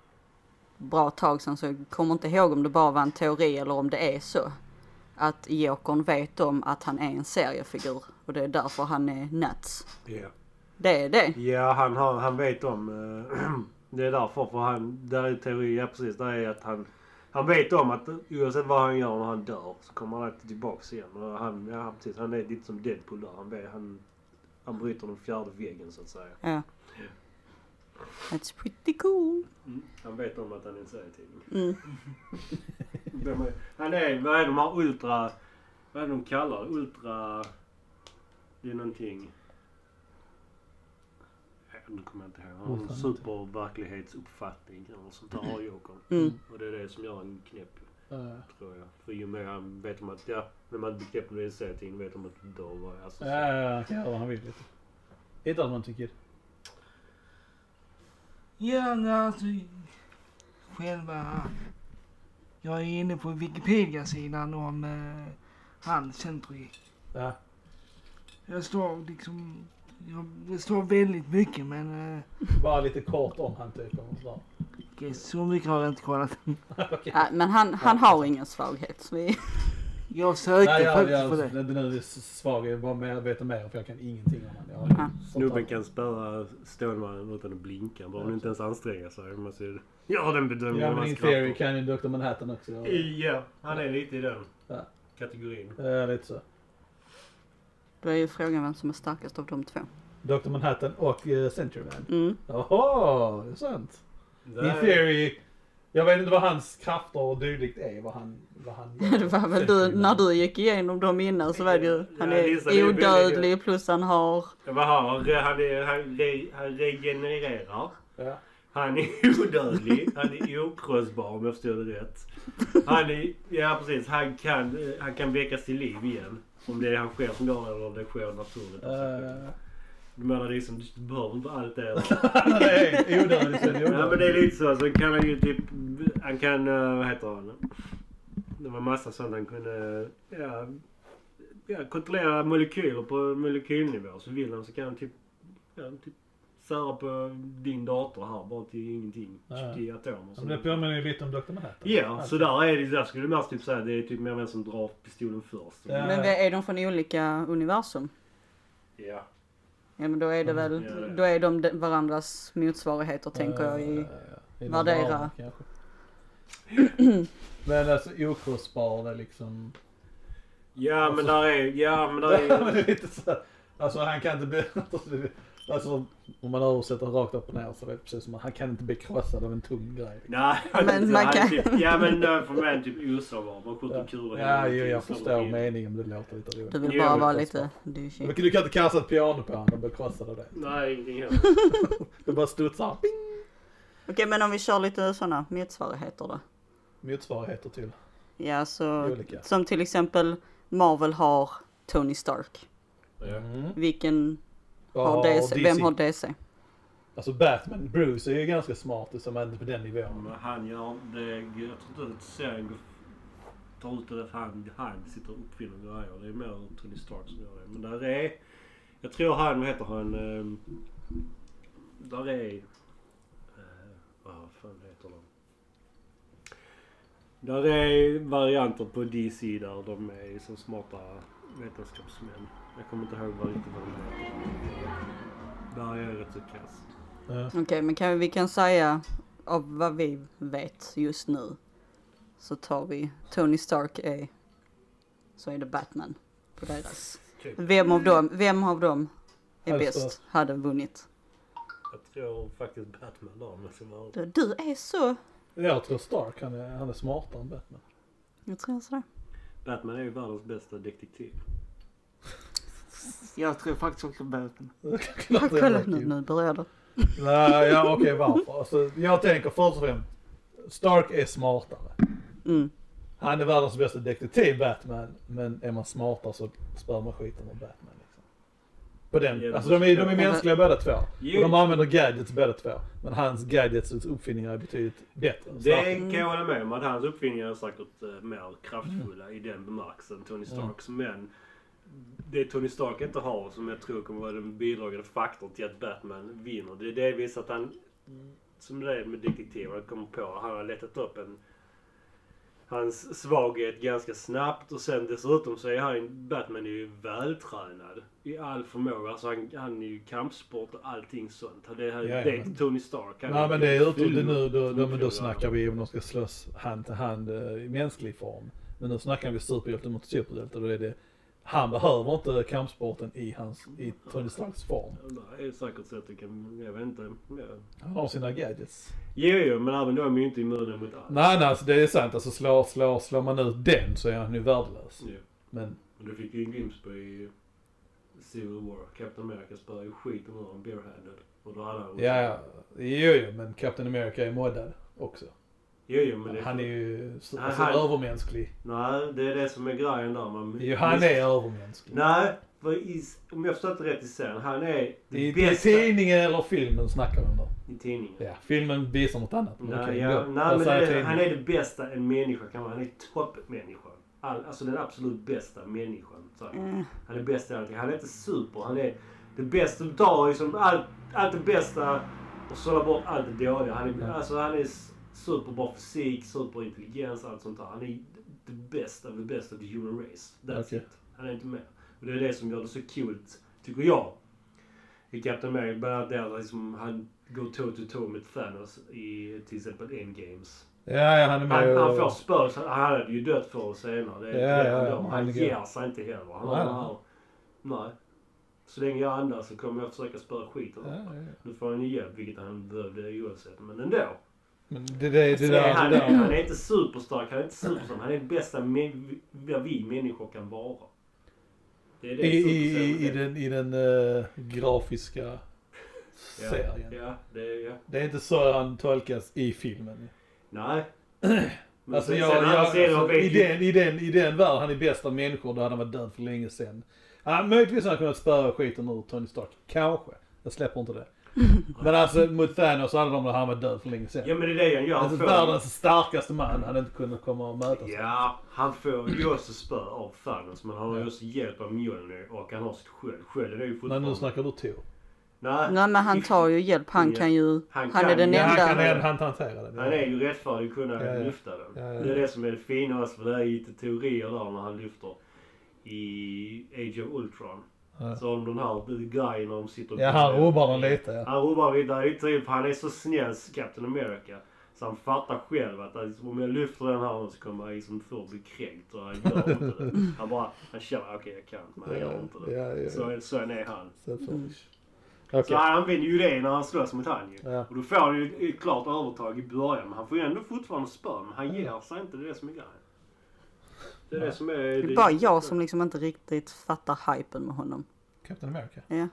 Speaker 2: bra tag sedan så jag kommer inte ihåg om det bara var en teori eller om det är så. Att Jokern vet om att han är en seriefigur och det är därför han är nuts.
Speaker 3: Ja.
Speaker 2: Det är det.
Speaker 3: Ja, han, har, han vet om... eh, det är därför, för han... Där är teori, ja precis. Där är att han... Han vet om att oavsett vad han gör när han dör så kommer han alltid tillbaks igen. Och han, ja, precis, han är lite som Deadpool där. Han, vet- han, han bryter den fjärde väggen så att säga.
Speaker 2: Ja. That's pretty cool.
Speaker 3: Han vet om att han är en serietidning.
Speaker 2: Mm.
Speaker 3: Vem är- Han är, vad är de här ultra... Vad är de kallar det? Ultra... Det är någonting... Ja, Nu kommer jag inte ihåg. Han har en
Speaker 1: Ultra
Speaker 3: superverklighetsuppfattning eller sånt där har Jokern.
Speaker 2: Mm.
Speaker 3: Och det är det som gör en knäpp,
Speaker 1: Ja,
Speaker 3: tror jag. För ju mer han vet om att, ja, när man blir knäpp när det är en serietidning vet de att du dör. va? Alltså, så-
Speaker 1: ja, ja, han kan göra vad han vill. Lite. Hittar du någonting Kid?
Speaker 4: Ja, nej, alltså... Själva... Jag är inne på Wikipedia-sidan om eh, han, Century.
Speaker 1: Ja.
Speaker 4: Jag står liksom... Jag, det står väldigt mycket men... Eh,
Speaker 1: Bara lite kort om han typ. eller något sådär.
Speaker 4: okej, så mycket har jag inte kollat.
Speaker 2: Ja, men han, han har ingen svaghet. Så vi...
Speaker 4: Jag sökte
Speaker 1: Nej, jag,
Speaker 4: faktiskt
Speaker 1: jag,
Speaker 4: på
Speaker 1: det.
Speaker 4: det.
Speaker 1: Den, den är svag. Jag var medveten mer för jag kan ingenting om den. Jag har
Speaker 2: Ja.
Speaker 3: Snubben kan spöa Stålmannen utan att blinka. Bara om inte ens anstränga sig. Man ser, ja, den bedömningen
Speaker 1: Ja, men
Speaker 3: man
Speaker 1: in
Speaker 3: skrattar.
Speaker 1: theory kan ju Dr. Manhattan också.
Speaker 3: Ja, han är lite i den
Speaker 1: Ja.
Speaker 3: kategorin.
Speaker 1: Ja, lite så.
Speaker 2: Då är ju frågan vem som är starkast av de två.
Speaker 1: Dr. Manhattan och uh, Century Man.
Speaker 2: Mm.
Speaker 1: Jaha, det är sant. In theory. Jag vet inte vad hans krafter och dylikt är. Vad han, vad han
Speaker 2: Det var väl du, när du gick igenom dem innan så var det ju, han är odödlig plus han har,
Speaker 3: Vad har han? Han, är, han, re, han regenererar.
Speaker 1: Ja.
Speaker 3: Han är odödlig. Han är okrossbar om jag förstod det rätt. Han är, ja precis, han kan, eh, han kan väckas till liv igen. Om det är han själv som gör det eller om det sker naturligt.
Speaker 1: Eh,
Speaker 3: Du menar liksom, du behöver inte allt det. eller?
Speaker 1: Nej, odödlig. så är det
Speaker 3: Ja men
Speaker 1: odödlig.
Speaker 3: det är lite så. Sen kan han ju typ... Han kan... eh, Vad heter han? Det var massa sånt han kunde... eh, Ja, ja, kontrollera molekyler på molekylnivå. Så vill han så kan han typ... Ja, typ sära på din dator här bara till ingenting.
Speaker 5: Ja.
Speaker 3: Till atomer.
Speaker 5: Men det
Speaker 3: Så.
Speaker 5: påminner ju lite om Dr. Manhattan.
Speaker 3: Ja,
Speaker 1: Alltså.
Speaker 3: så där är det. Där skulle du mest typ säga det är typ mer vem som drar pistolen först.
Speaker 1: Ja.
Speaker 2: men är de från olika universum?
Speaker 3: Ja.
Speaker 2: Ja men då är det
Speaker 1: Mm.
Speaker 2: väl,
Speaker 3: Ja, ja.
Speaker 2: då är de de- varandras motsvarigheter tänker jag i...
Speaker 1: Eh, i
Speaker 2: värdera.
Speaker 1: normalen, kanske. Men alltså okrossbar det är liksom...
Speaker 3: Ja men där är... Ja men där
Speaker 1: Alltså. Ja,
Speaker 3: är...
Speaker 1: men det är lite så. här- Alltså han kan inte bli... Alltså om man översätter rakt upp och ner så är det precis som att han kan inte bli krossad av en tung grej.
Speaker 3: Nej,
Speaker 2: Men
Speaker 3: så
Speaker 2: man
Speaker 3: han
Speaker 2: kan-
Speaker 3: Typ, ja men eh, för mig är han typ osårbar. Man skjuter kulor hela
Speaker 1: Ja, jo,
Speaker 3: tiden,
Speaker 1: jag
Speaker 3: slår
Speaker 1: förstår
Speaker 3: in.
Speaker 1: meningen men det låter lite
Speaker 2: Du
Speaker 1: roligt.
Speaker 2: vill
Speaker 3: Ja,
Speaker 2: bara
Speaker 3: men
Speaker 2: vara
Speaker 1: det är
Speaker 2: lite douchey.
Speaker 1: Men Du kan inte kasta ett piano på honom och bli krossad av det.
Speaker 3: Nej, ingenting annat.
Speaker 1: Det bara studsar. Ping!
Speaker 2: Okej men om vi kör lite sådana motsvarigheter då.
Speaker 1: Motsvarigheter till.
Speaker 2: Ja så,
Speaker 1: Olika.
Speaker 2: som till exempel Marvel har Tony Stark.
Speaker 1: Mm.
Speaker 2: Vilken har
Speaker 1: Ja,
Speaker 2: DC?
Speaker 1: och
Speaker 2: Vem har DC?
Speaker 1: Alltså Batman, Bruce är ju ganska smart som är inte på den
Speaker 3: Ja,
Speaker 1: nivån.
Speaker 3: men Ehm, han gör det. Jag tror inte att serien går- tar ut det att han, han sitter och uppfinner grejer. Det är mer Tony Stark som gör det. Men där är... Jag tror han, vad heter han? ehm, Där är... eh, Vad fan heter de? Där är varianter på DC där de är liksom smarta vetenskapsmän. Jag kommer inte ihåg vad riktigt vad de heter. Där är jag rätt så kass.
Speaker 1: Mm.
Speaker 2: Okej men kan, vi kan säga av vad vi vet just nu. Så tar vi Tony Stark är, så är det Batman på deras.
Speaker 3: Typ.
Speaker 2: Vem av dem, vem av dem är
Speaker 1: Mm. Alltså.
Speaker 2: bäst? Hade vunnit.
Speaker 3: Jag tror faktiskt Batman där om jag ska vara
Speaker 2: Du, du är så,
Speaker 1: Jag tror Stark, han är, han är smartare än Batman.
Speaker 2: jag tror sådär.
Speaker 3: Batman är ju världens bästa detektiv.
Speaker 4: Jag tror faktiskt också böten.
Speaker 2: Ah, kolla nu, nu börjar det.
Speaker 1: Nej, ja, okej varför? Alltså, jag tänker först och främst, Stark är smartare.
Speaker 2: Mm.
Speaker 1: Han är världens bästa detektiv Batman, men är man smartare så spör man skiten om Batman. Liksom. På den, alltså de är, de är mänskliga båda två. Och de använder gadgets båda två. Men hans gadgets och uppfinningar är betydligt bättre. än
Speaker 3: Det
Speaker 1: Stark.
Speaker 3: kan jag hålla med om att hans uppfinningar är säkert eh, mer kraftfulla i den bemärkelsen än Tony Starks. Men det Tony Stark inte har som jag tror kommer vara den bidragande faktorn till att Batman vinner. Det är delvis att han, som det är med detektiver, han kommer på han har letat upp en hans svaghet ganska snabbt och sen dessutom så är han, Batman är ju vältränad i all förmåga. Alltså han, han är ju kampsport och allting sånt. Det, här,
Speaker 1: Ja, ja,
Speaker 3: det är
Speaker 1: men-
Speaker 3: inte Tony Stark. Han
Speaker 1: Nej
Speaker 3: är
Speaker 1: men det är ute
Speaker 3: fylld
Speaker 1: nu, då, då, men då
Speaker 3: uppfyllare.
Speaker 1: snackar vi om de ska slåss hand till hand eh, i mänsklig form. Men nu snackar vi superhjälte mot superhjälte. Då är det, han behöver inte kampsporten i, hans, i Tony Starks form.
Speaker 3: Det är säkert så att det kan, jag vet inte. Ja.
Speaker 1: Han har sina gadgets.
Speaker 3: Jo, jo, men även då är man ju inte immuna mot allt.
Speaker 1: Nej nej, alltså, det är sant. Alltså slår, slår, slår man ut den så är han ju värdelös.
Speaker 3: Ja.
Speaker 1: Men
Speaker 3: Men du fick ju en glimt på i Civil War. Captain America spöade ju skiten ur honom barehanded. Och då hade han...
Speaker 1: ja, ja. Jo, jo, men Captain America är moddad också.
Speaker 3: Jo, jo, men det...
Speaker 1: Han är ju så,
Speaker 3: Han-
Speaker 1: alltså,
Speaker 3: han-
Speaker 1: övermänsklig.
Speaker 3: Nej, det är det som är grejen där. Man...
Speaker 1: Jo, han är övermänsklig.
Speaker 3: Nej, för i... om jag förstått det rätt i serien. Han är det
Speaker 1: I, I
Speaker 3: bästa...
Speaker 1: tidningen eller filmen snackar man om. det.
Speaker 3: I tidningen.
Speaker 1: Ja, filmen visar något annat. men
Speaker 3: Nej,
Speaker 1: okej,
Speaker 3: Mm. ja,
Speaker 1: gå.
Speaker 3: nej
Speaker 1: Jag
Speaker 3: men
Speaker 1: säger
Speaker 3: det,
Speaker 1: till-
Speaker 3: han är det bästa en människa kan vara. Han är toppmänniskan. All, alltså den absolut bästa människan. Så.
Speaker 2: Mm.
Speaker 3: Han är bäst i allting. Han är inte super. Han är det bästa. Du tar liksom allt, allt det bästa och sållar bort allt det dåliga. Han är, alltså, han är s- superbra fysik, superintelligens, allt sånt där. Han är the best of the best of the human race. That's
Speaker 1: Okej.
Speaker 3: it. Han är inte mer. Och det är det som gör det så kul, tycker jag. I Captain America, bland annat där liksom, han går toe to toe med Thanos i till exempel Endgames.
Speaker 1: Ja, ja, han är
Speaker 3: Han,
Speaker 1: med
Speaker 3: han får spös, han han hade ju dött förr eller senare. Det,
Speaker 1: Ja,
Speaker 3: är det
Speaker 1: ja,
Speaker 3: ändå.
Speaker 1: ja.
Speaker 3: Han
Speaker 1: Han-
Speaker 3: ger sig inte heller. Han har
Speaker 1: Nej,
Speaker 3: den här... Nej. Så länge jag andas så kommer jag försöka spöa skiten
Speaker 1: Ja,
Speaker 3: ja.
Speaker 1: ja, ja.
Speaker 3: Nu får han ju hjälp, vilket han behövde oavsett. Men ändå.
Speaker 1: Men det, det, det,
Speaker 3: Så
Speaker 1: där,
Speaker 3: är Alltså, han,
Speaker 1: det där.
Speaker 3: han är inte superstark, han är inte superstark. Han är den bästa men, vad vi människor kan vara. Det är
Speaker 1: I, i,
Speaker 3: superserien
Speaker 1: i, i
Speaker 3: är.
Speaker 1: den, i den eh, grafiska
Speaker 3: ja.
Speaker 1: serien.
Speaker 3: Ja, det är... Ja.
Speaker 1: Det är inte så han tolkas i filmen.
Speaker 3: Nej. Men
Speaker 1: Alltså,
Speaker 3: sen-
Speaker 1: jag, jag,
Speaker 3: sen andra serien
Speaker 1: alltså,
Speaker 3: vet
Speaker 1: i,
Speaker 3: ju-
Speaker 1: den, i, den, I den värld han är bästa människor, då hade han varit död för länge sedan. Ja, möjligtvis hade han kunnat spöa skiten ur Tony Stark. Kanske. Jag släpper inte det. Men alltså mot Thanos hade de han var död för länge sedan.
Speaker 3: Ja men det är det han gör. Han
Speaker 1: Alltså
Speaker 3: får
Speaker 1: världens starkaste man hade inte kunnat komma och mötas.
Speaker 3: Ja, han får ju också spö av Thanos men han har ju
Speaker 1: Ja.
Speaker 3: också hjälp av Mjolnir och han har sitt sköld. Skölden är ju
Speaker 1: Men nu
Speaker 3: fortfarande...
Speaker 1: snackar du Tor.
Speaker 3: Nej,
Speaker 2: Nej men han tar ju hjälp. Han
Speaker 3: Ja.
Speaker 2: kan ju...
Speaker 3: Han
Speaker 2: Han,
Speaker 3: kan-
Speaker 2: är den
Speaker 1: Ja, han
Speaker 2: enda.
Speaker 1: kan ändå han hantera det.
Speaker 3: han är ju rättfärdig att kunna
Speaker 1: Ja, ja.
Speaker 3: lyfta den.
Speaker 1: Ja, ja.
Speaker 3: Det är det som är det fina också för det är lite teorier där när han lyfter. I Age of Ultron.
Speaker 1: Ja.
Speaker 3: Så om den här guyen när de sitter och-
Speaker 1: Ja, han rubbar den lite. Ja.
Speaker 3: Han rubbar vidare i typ, han är så snäll Captain America. Så han fattar själv att alltså, om jag lyfter den här nu så kommer jag liksom få bli kränkt. Och han gör inte det. Han bara, han känner okej jag kan men han gör inte det.
Speaker 1: Ja, ja, ja.
Speaker 3: Så, så är han.
Speaker 1: Så
Speaker 2: Mm.
Speaker 1: först. Okej.
Speaker 3: Så han använder ju det när han slåss mot han ju.
Speaker 1: Ja.
Speaker 3: Och då får han ju ett klart övertag i början. Men han får ju ändå fortfarande spö. Men han ger sig inte. Det är det som är grejen. Det är det som är...
Speaker 2: Det är bara jag som liksom inte riktigt fattar hypen med honom.
Speaker 1: Captain America.
Speaker 2: Ja.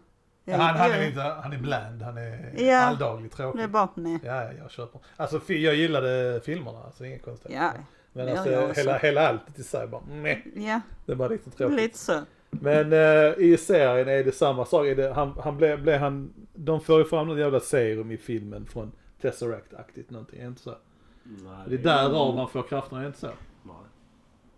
Speaker 1: Ja, han, han, är inte, han är bland, han är
Speaker 2: Ja.
Speaker 1: alldaglig
Speaker 2: Det är
Speaker 1: tråkig.
Speaker 2: bara med.
Speaker 1: Ja, ja, jag köper. Alltså fi- jag gillade filmerna, alltså inget konstigt.
Speaker 2: Ja.
Speaker 1: Men
Speaker 2: det gör
Speaker 1: alltså
Speaker 2: jag också.
Speaker 1: hela, hela allt i sig bara nej,
Speaker 2: Ja,
Speaker 1: det var riktigt tråkigt.
Speaker 2: lite så.
Speaker 1: Men eh, i serien är det samma sak. Är det, han, han blev, blev han, de för ju fram något jävla serum i filmen från Tesseract-aktigt någonting, är det inte så?
Speaker 3: Nej,
Speaker 1: Det är därav han får krafterna, är det inte så?
Speaker 3: Nej.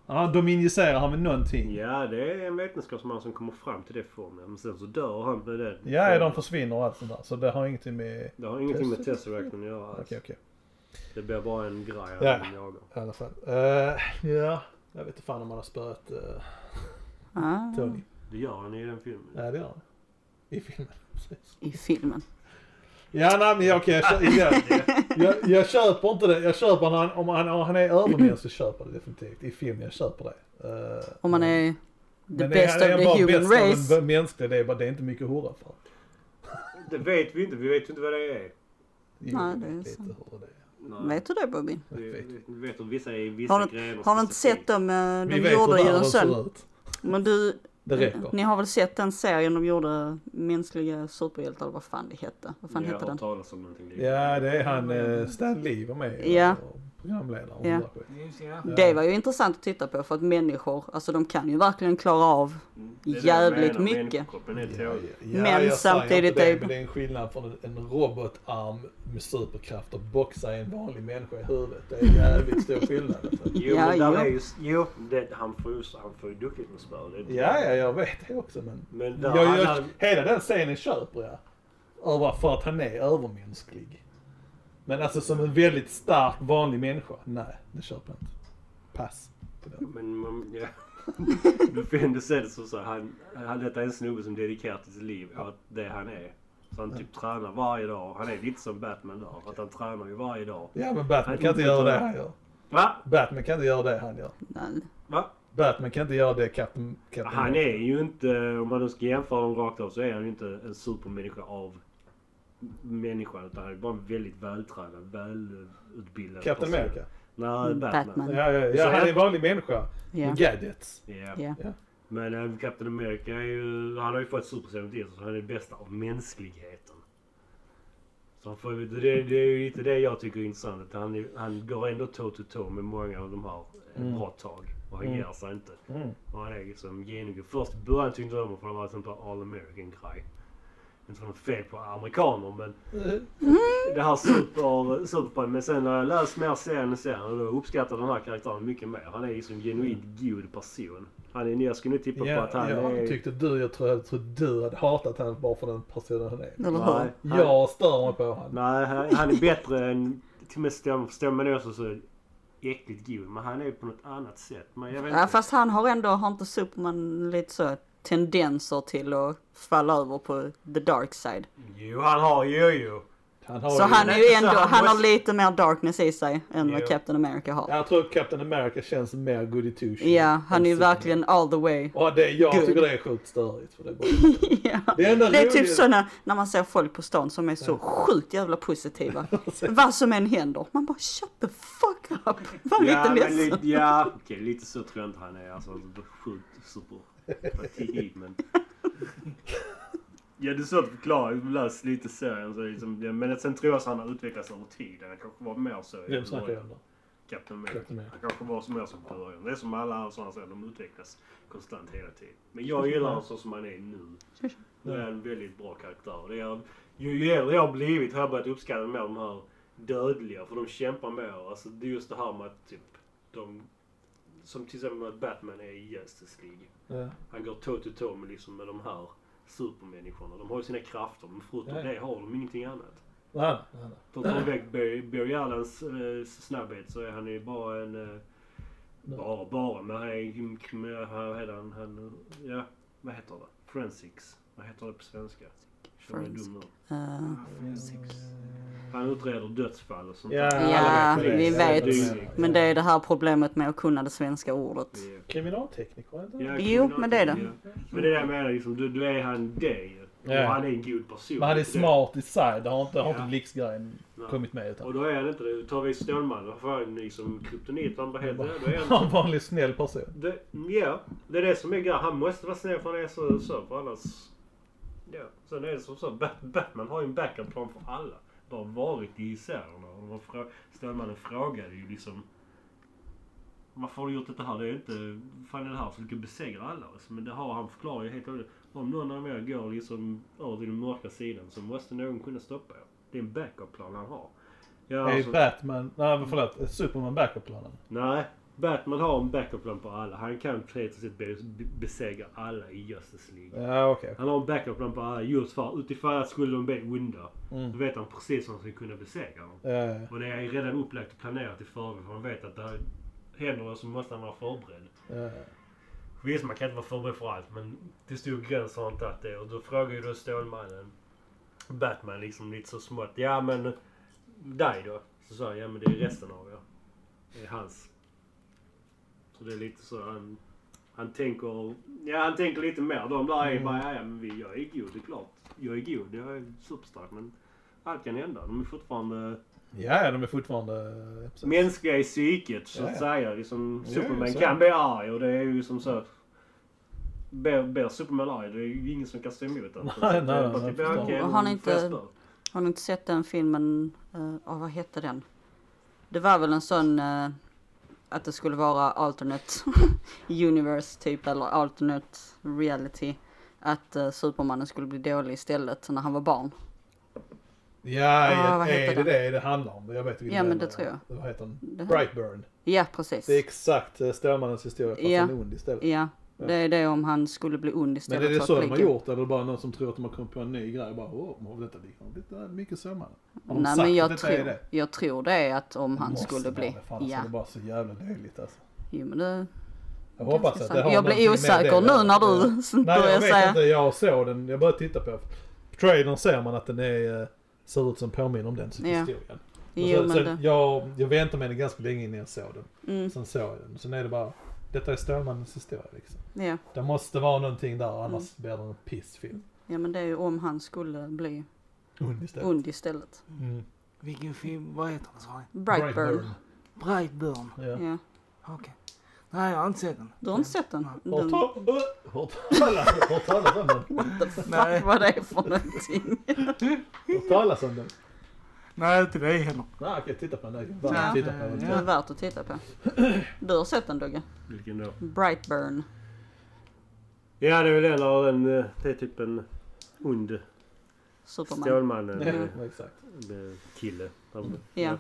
Speaker 1: Ja, de injicerar han med någonting.
Speaker 3: Ja, det är en vetenskapsman som kommer fram till det formen. Men sen så dör han med det.
Speaker 1: Ja, de försvinner och allt sånt där. Så det har ingenting med...
Speaker 3: Det har ingenting med Tesseracten att göra alls.
Speaker 1: Okej, okej.
Speaker 3: Det blir bara en grej
Speaker 1: Ja.
Speaker 3: han jagar.
Speaker 1: I alla fall. Eh, ja, jag vet inte fan om man har spöat eh,
Speaker 2: Ja,
Speaker 1: Tony.
Speaker 3: Det gör han i den filmen.
Speaker 1: Ja, det gör han. I filmen. Precis.
Speaker 2: I filmen.
Speaker 1: Ja, nej, men jag, okej, jag, kö- igen. jag, jag köper inte det. Jag köper när han, om han, om han är övermänsklig så köper jag det definitivt. I filmen, jag köper det. Eh,
Speaker 2: Om man är the
Speaker 1: men
Speaker 2: best of
Speaker 1: är bara
Speaker 2: the human
Speaker 1: bäst av
Speaker 2: race.
Speaker 1: en mänsklig, det är bara det är inte mycket hurra för.
Speaker 3: Det vet vi inte. Vi vet ju inte vad det är.
Speaker 1: Jo,
Speaker 2: Nej, det är
Speaker 1: lite
Speaker 2: sant.
Speaker 1: hurra det är.
Speaker 3: Nej.
Speaker 2: Vet du det Bobby?
Speaker 3: Vi, vi, vi vet att vissa är vissa
Speaker 2: Har du-
Speaker 3: grejer.
Speaker 2: Har du inte
Speaker 3: specifikt.
Speaker 2: sett dem, eh,
Speaker 1: Vi
Speaker 2: de
Speaker 1: vet hur
Speaker 2: gjorde ju en
Speaker 1: världen
Speaker 2: sån.
Speaker 1: ser ut.
Speaker 2: Men du,
Speaker 1: Det räcker.
Speaker 2: Mm. ni har väl sett den serien de gjorde, Mänskliga superhjältar, eller vad fan det hette? Vad fan
Speaker 3: Jag
Speaker 2: hette den?
Speaker 3: har hört talas om någonting
Speaker 1: Ja, det är han eh, Stan Lee var med eh,
Speaker 2: Ja.
Speaker 1: och programledare och
Speaker 2: Ja.
Speaker 1: sån där skit.
Speaker 4: Just det, ja.
Speaker 1: Ja.
Speaker 2: Det var ju intressant att titta på för att människor, alltså de kan ju verkligen klara av.
Speaker 3: Mm. Det är det jag
Speaker 2: Jävligt
Speaker 3: menar,
Speaker 2: mycket.
Speaker 3: människokroppen är
Speaker 1: Ja,
Speaker 3: tråkig.
Speaker 1: ja,
Speaker 2: Men
Speaker 1: jag säger inte
Speaker 2: samtidigt
Speaker 1: det,
Speaker 2: är-
Speaker 1: men det är en skillnad från en- en robotarm med superkraft och boxa en vanlig människa i huvudet. Det är en jävligt stor skillnad. alltså.
Speaker 3: Jo,
Speaker 2: Ja,
Speaker 3: men där
Speaker 2: ja.
Speaker 3: är ju... Jo, det, han får ju han får ju duktigt med spö. det är inte-
Speaker 1: Ja, ja, jag vet det också men...
Speaker 3: Men där,
Speaker 1: Jag, jag,
Speaker 3: han,
Speaker 1: hela den scenen köper jag. Över för att han är övermänsklig. Men alltså som en väldigt stark vanlig människa. Nej, det köper jag inte. Pass. på den.
Speaker 3: Men man, ja. Du får ändå se det som så. här, Han, han, detta är en snubbe som dedikerat sitt liv åt det han är. Så han typ tränar varje dag. Han är lite som Batman där. För att han tränar ju varje dag.
Speaker 1: Ja, men Batman
Speaker 3: Nej,
Speaker 1: kan inte
Speaker 3: inte
Speaker 1: göra det
Speaker 3: jag.
Speaker 1: han gör.
Speaker 3: Va?
Speaker 1: Batman kan inte göra det han gör.
Speaker 2: Nej.
Speaker 3: Va?
Speaker 1: Batman kan inte göra det Captain... Captain
Speaker 3: Han är ju inte, om man nu ska jämföra dem rakt av, så är han ju inte en supermänniska av människan. Utan han är bara en väldigt vältränad, välutbildad
Speaker 1: Captain
Speaker 3: person.
Speaker 1: America.
Speaker 3: Nej,
Speaker 2: Mm,
Speaker 3: Batman.
Speaker 2: Batman.
Speaker 1: Ja, ja, ja,
Speaker 3: Så
Speaker 1: han är
Speaker 3: här-
Speaker 1: en vanlig människa.
Speaker 2: Ja.
Speaker 1: Med gadgets.
Speaker 3: Ja.
Speaker 2: Ja.
Speaker 3: Men eh, Captain America är ju, han har ju fått superserum till sig, så han är den bästa av mänskligheten. Så han får, ju- det, det är ju lite det jag tycker är intressant. Att han, är- han går ändå tå till tå med många av de här ett bra tag. Och han ger sig inte.
Speaker 1: Mm.
Speaker 3: Och han är liksom genuin. Först i början tyckte jag om honom för han var en sån där all American guy. Inte för något fel på amerikaner men det här super, super Men sen när jag läst mer serien och sen och då uppskattar jag den här karaktären mycket mer. Han är liksom en genuint god person. Han är, jag skulle nu tippa på
Speaker 1: Mm. Ja,
Speaker 3: att han är...
Speaker 1: jag tyckte du, jag tror, jag tror du hade hatat honom bara för den personen han är.
Speaker 2: Eller hur?
Speaker 3: Nej, han,
Speaker 1: Jag stör mig på honom.
Speaker 3: nej, han han är bättre än till och med Stem, Stemmen är också så äckligt god. Men han är ju på något annat sätt. Men jag vet
Speaker 2: Ja,
Speaker 3: inte.
Speaker 2: fast han har ändå, har inte Superman lite så tendenser till att falla över på the dark side?
Speaker 3: Jo, han har ju ju.
Speaker 1: Han har
Speaker 2: Så
Speaker 1: ju,
Speaker 2: han är ju
Speaker 3: Så
Speaker 2: ändå,
Speaker 3: han
Speaker 2: han har
Speaker 3: måste-
Speaker 2: lite mer darkness i sig än
Speaker 3: Jo.
Speaker 2: vad Captain America har.
Speaker 1: Jag tror Captain America känns mer goody two shoes
Speaker 2: Ja, han är ju
Speaker 1: än Superman.
Speaker 2: verkligen all the way.
Speaker 1: Ja, det, jag
Speaker 2: Good.
Speaker 1: tycker det är sjukt störigt. För det, är bara...
Speaker 2: Ja.
Speaker 1: det enda
Speaker 2: Det är
Speaker 1: roliga-
Speaker 2: typ så när, när man ser folk på stan som är så sjukt jävla positiva.
Speaker 1: Alltså.
Speaker 2: Vad som än händer. Man bara shut the fuck up. Var lite
Speaker 3: men
Speaker 2: ledsen.
Speaker 3: lite- ja, okej, lite så tror jag inte han är. Alltså, han är sjukt superpatik, men... Ja, det är svårt att förklara. Jag läst lite serien. Så liksom, ja, men sen tror jag att han har utvecklats över tiden. Han kanske var mer så. i
Speaker 1: Vem snackar jag
Speaker 3: början.
Speaker 1: om då?
Speaker 3: Captain America.
Speaker 1: Captain America.
Speaker 3: Han kanske var som jag som början. Det är som alla andra sådana serier. De utvecklas konstant hela tiden. Men jag gillar
Speaker 1: Mm.
Speaker 3: honom så som han är nu. Nu är han en väldigt bra karaktär. Det är, ju ju äldre jag har blivit har jag börjat uppskatta mer de här dödliga. För de kämpar mer. Alltså, det är just det här med att typ, de... Som till exempel att Batman är i Justice League.
Speaker 1: Ja.
Speaker 3: Han går tå till tå med, liksom, med de här supermänniskorna. De har ju sina krafter. Men förutom
Speaker 1: Ja.
Speaker 3: det har de ingenting annat.
Speaker 1: Nej, nej, nej.
Speaker 3: För att ta väck Barry- Barry Allens eh, snabbhet så är han ju bara en... Eh, bara, bara. Men han är ju... Vad heter han? han ja, vad heter det? Forensics. Vad heter det på svenska? Jag är dum nu.
Speaker 2: Eh,
Speaker 3: Han utreder dödsfall och sånt
Speaker 1: Ja,
Speaker 3: där.
Speaker 1: alla
Speaker 2: ja,
Speaker 1: vet det.
Speaker 2: vi
Speaker 1: Alla
Speaker 2: vet.
Speaker 3: det.
Speaker 2: Men det är det här problemet med att kunna det svenska ordet.
Speaker 3: Det är-
Speaker 1: Kriminaltekniker, är det inte det?
Speaker 3: ja,
Speaker 2: Jo, men det är det.
Speaker 3: ja. Men det är det jag menar. Liksom, du, du är han det ju.
Speaker 1: Ja.
Speaker 3: Och han är en god person.
Speaker 1: Men han är
Speaker 3: Det-
Speaker 1: smart i sig. Det har inte, har inte
Speaker 3: Ja.
Speaker 1: blixtgrejen
Speaker 3: Nej.
Speaker 1: kommit med. Utan.
Speaker 3: Och då är han inte det. Tar vi Stålmannen, då får han liksom kryptonit. Han bara helt död. Då är han
Speaker 1: Han är en vanlig snäll person.
Speaker 3: Det, ja, det är det som är grejen. Han måste vara snäll för han är så så för annars... Ja, sen är det som så. Bat- Batman har ju en backup-plan för alla. Det har varit i serierna. Och de frå- Stålmannen frågade ju liksom... Varför har du gjort detta här? Det är inte... Fan är det här som ska besegra alla? Alltså, men det har han förklarat ju helt och hållet. Om någon av er går liksom över till den mörka sidan så måste någon kunna stoppa er. Det är en backup-plan han har. Ja,
Speaker 1: Är
Speaker 3: alltså,
Speaker 1: Batman, nej men förlåt, Superman backup-planen.
Speaker 3: Nej, Batman har en backup-plan på alla. Han kan teoretiskt sett be- be- besegra alla i Justice League.
Speaker 1: Ja okej.
Speaker 3: Han har en backup-plan på alla just för utifall att skulle de bli onda.
Speaker 1: Mm.
Speaker 3: Då vet han precis hur han ska kunna besegra dem.
Speaker 1: Eh,
Speaker 3: Och det är redan upplagt och planerat i förväg för han vet att det här händer så måste han vara förberedd.
Speaker 1: eh,
Speaker 3: Visst, man kan inte vara förberedd för allt men till stor gräns har han tagit det. Och då frågar ju då Stålmannen Batman liksom lite så smått. Ja men dig då? Så sa han ja men det är resten av er. Det är hans. Så det är lite så han... Han tänker... Ja han tänker lite mer. De där är bara ja, ja men vi, jag är god det är klart. Jag är god. Jag är superstark men allt kan hända. De är fortfarande
Speaker 1: Ja, ja, de är fortfarande... eh, precis.
Speaker 3: mänskliga i psyket så
Speaker 1: Ja,
Speaker 3: att
Speaker 1: ja.
Speaker 3: säga. Liksom,
Speaker 1: Ja,
Speaker 3: Superman
Speaker 1: så.
Speaker 3: kan bli arg och det är ju som så. Blir blir Superman arg det är ju ingen som kan stå emot det. Så att det är
Speaker 1: nej,
Speaker 3: bara
Speaker 1: nej,
Speaker 3: typ,
Speaker 1: jag
Speaker 3: ja,
Speaker 1: förstår.
Speaker 3: okej,
Speaker 2: Och har ni
Speaker 3: men får jag
Speaker 2: inte-
Speaker 3: spö?
Speaker 2: Har ni inte sett den filmen? Uh, vad hette den? Det var väl en sån eh, att det skulle vara alternate universe typ eller alternate reality. Att eh, Supermannen skulle bli dålig istället när han var barn.
Speaker 1: Ja,
Speaker 2: Ah,
Speaker 1: ja
Speaker 2: vad
Speaker 1: är det
Speaker 2: heter den?
Speaker 1: det det handlar om? Jag vet vilken
Speaker 2: Ja, men
Speaker 1: den
Speaker 2: det
Speaker 1: är.
Speaker 2: tror jag.
Speaker 1: Vad heter den?
Speaker 2: Det här-
Speaker 1: Brightburn.
Speaker 2: Ja precis.
Speaker 1: Det är exakt eh, Stålmannens historia fast
Speaker 2: Ja.
Speaker 1: en ond istället.
Speaker 2: Ja, det är det om han skulle bli ond
Speaker 1: Men
Speaker 2: istället
Speaker 1: är det
Speaker 2: för
Speaker 1: så
Speaker 2: att
Speaker 1: de har
Speaker 2: bli god.
Speaker 1: gjort eller bara någon som tror att de har kommit på en ny grej? Bara åh, oh, detta liknar lite mycket Stålmannen. Har de
Speaker 2: Nej
Speaker 1: sagt
Speaker 2: men
Speaker 1: att
Speaker 2: jag
Speaker 1: detta är
Speaker 2: tror,
Speaker 1: det?
Speaker 2: jag tror det är att om
Speaker 1: Det
Speaker 2: han
Speaker 1: måste
Speaker 2: skulle
Speaker 1: vara
Speaker 2: bli.
Speaker 1: det, Fan, ja.
Speaker 2: ja.
Speaker 1: Det är bara så jävla löjligt alltså.
Speaker 2: Jo, men det,
Speaker 1: Jag hoppas att
Speaker 2: ganska
Speaker 1: det har
Speaker 2: sant. jag
Speaker 1: någonting
Speaker 2: blir
Speaker 1: med
Speaker 2: osäker
Speaker 1: det.
Speaker 2: nu när
Speaker 1: Eh,
Speaker 2: du
Speaker 1: Nej jag
Speaker 2: börjar
Speaker 1: vet
Speaker 2: säga.
Speaker 1: inte, jag såg den, jag började titta på den. På trailern ser man att den är, eh, ser ut som påminner om den
Speaker 2: Ja.
Speaker 1: historien. Och
Speaker 2: Jo
Speaker 1: sen,
Speaker 2: men det.
Speaker 1: sen, jag, jag väntade mig den ganska länge innan jag såg den.
Speaker 2: Mm,
Speaker 1: Sen såg jag den. Sen är det bara, detta är Stålmannens historia liksom.
Speaker 2: ja.
Speaker 1: Det måste vara någonting
Speaker 2: Mm.
Speaker 1: där annars blir det en pissfilm.
Speaker 2: ja men det är ju om han skulle bli
Speaker 1: Ond Mm. istället.
Speaker 2: ond istället.
Speaker 1: Mm.
Speaker 4: Vilken film, vad heter den sa ni?
Speaker 2: Brightburn. Mm.
Speaker 4: Brightburn.
Speaker 1: Ja.
Speaker 2: Ja.
Speaker 4: Okej.
Speaker 2: Nou
Speaker 4: Nej, jag har inte sett den.
Speaker 2: Du har inte sett den?
Speaker 4: Nej.
Speaker 1: Hört
Speaker 2: den
Speaker 1: tal- äh, hört talas- hört talas om den?
Speaker 2: what the fuck
Speaker 4: Nej.
Speaker 2: var det för någonting?
Speaker 1: Hört talas om den?
Speaker 4: Nej, inte det heller.
Speaker 1: Nej okej, titta på den.
Speaker 2: Ja.
Speaker 1: Bara Titta på den.
Speaker 2: Det är värt att titta på. Du har sett den Dogge?
Speaker 3: Vilken då?
Speaker 2: Brightburn.
Speaker 3: Ja det är väl en av den. eh, Det är typ en ond
Speaker 2: Superman.
Speaker 3: Stålmannen eh,
Speaker 1: Ja, exakt.
Speaker 3: eh, kille. Han-
Speaker 2: Ja.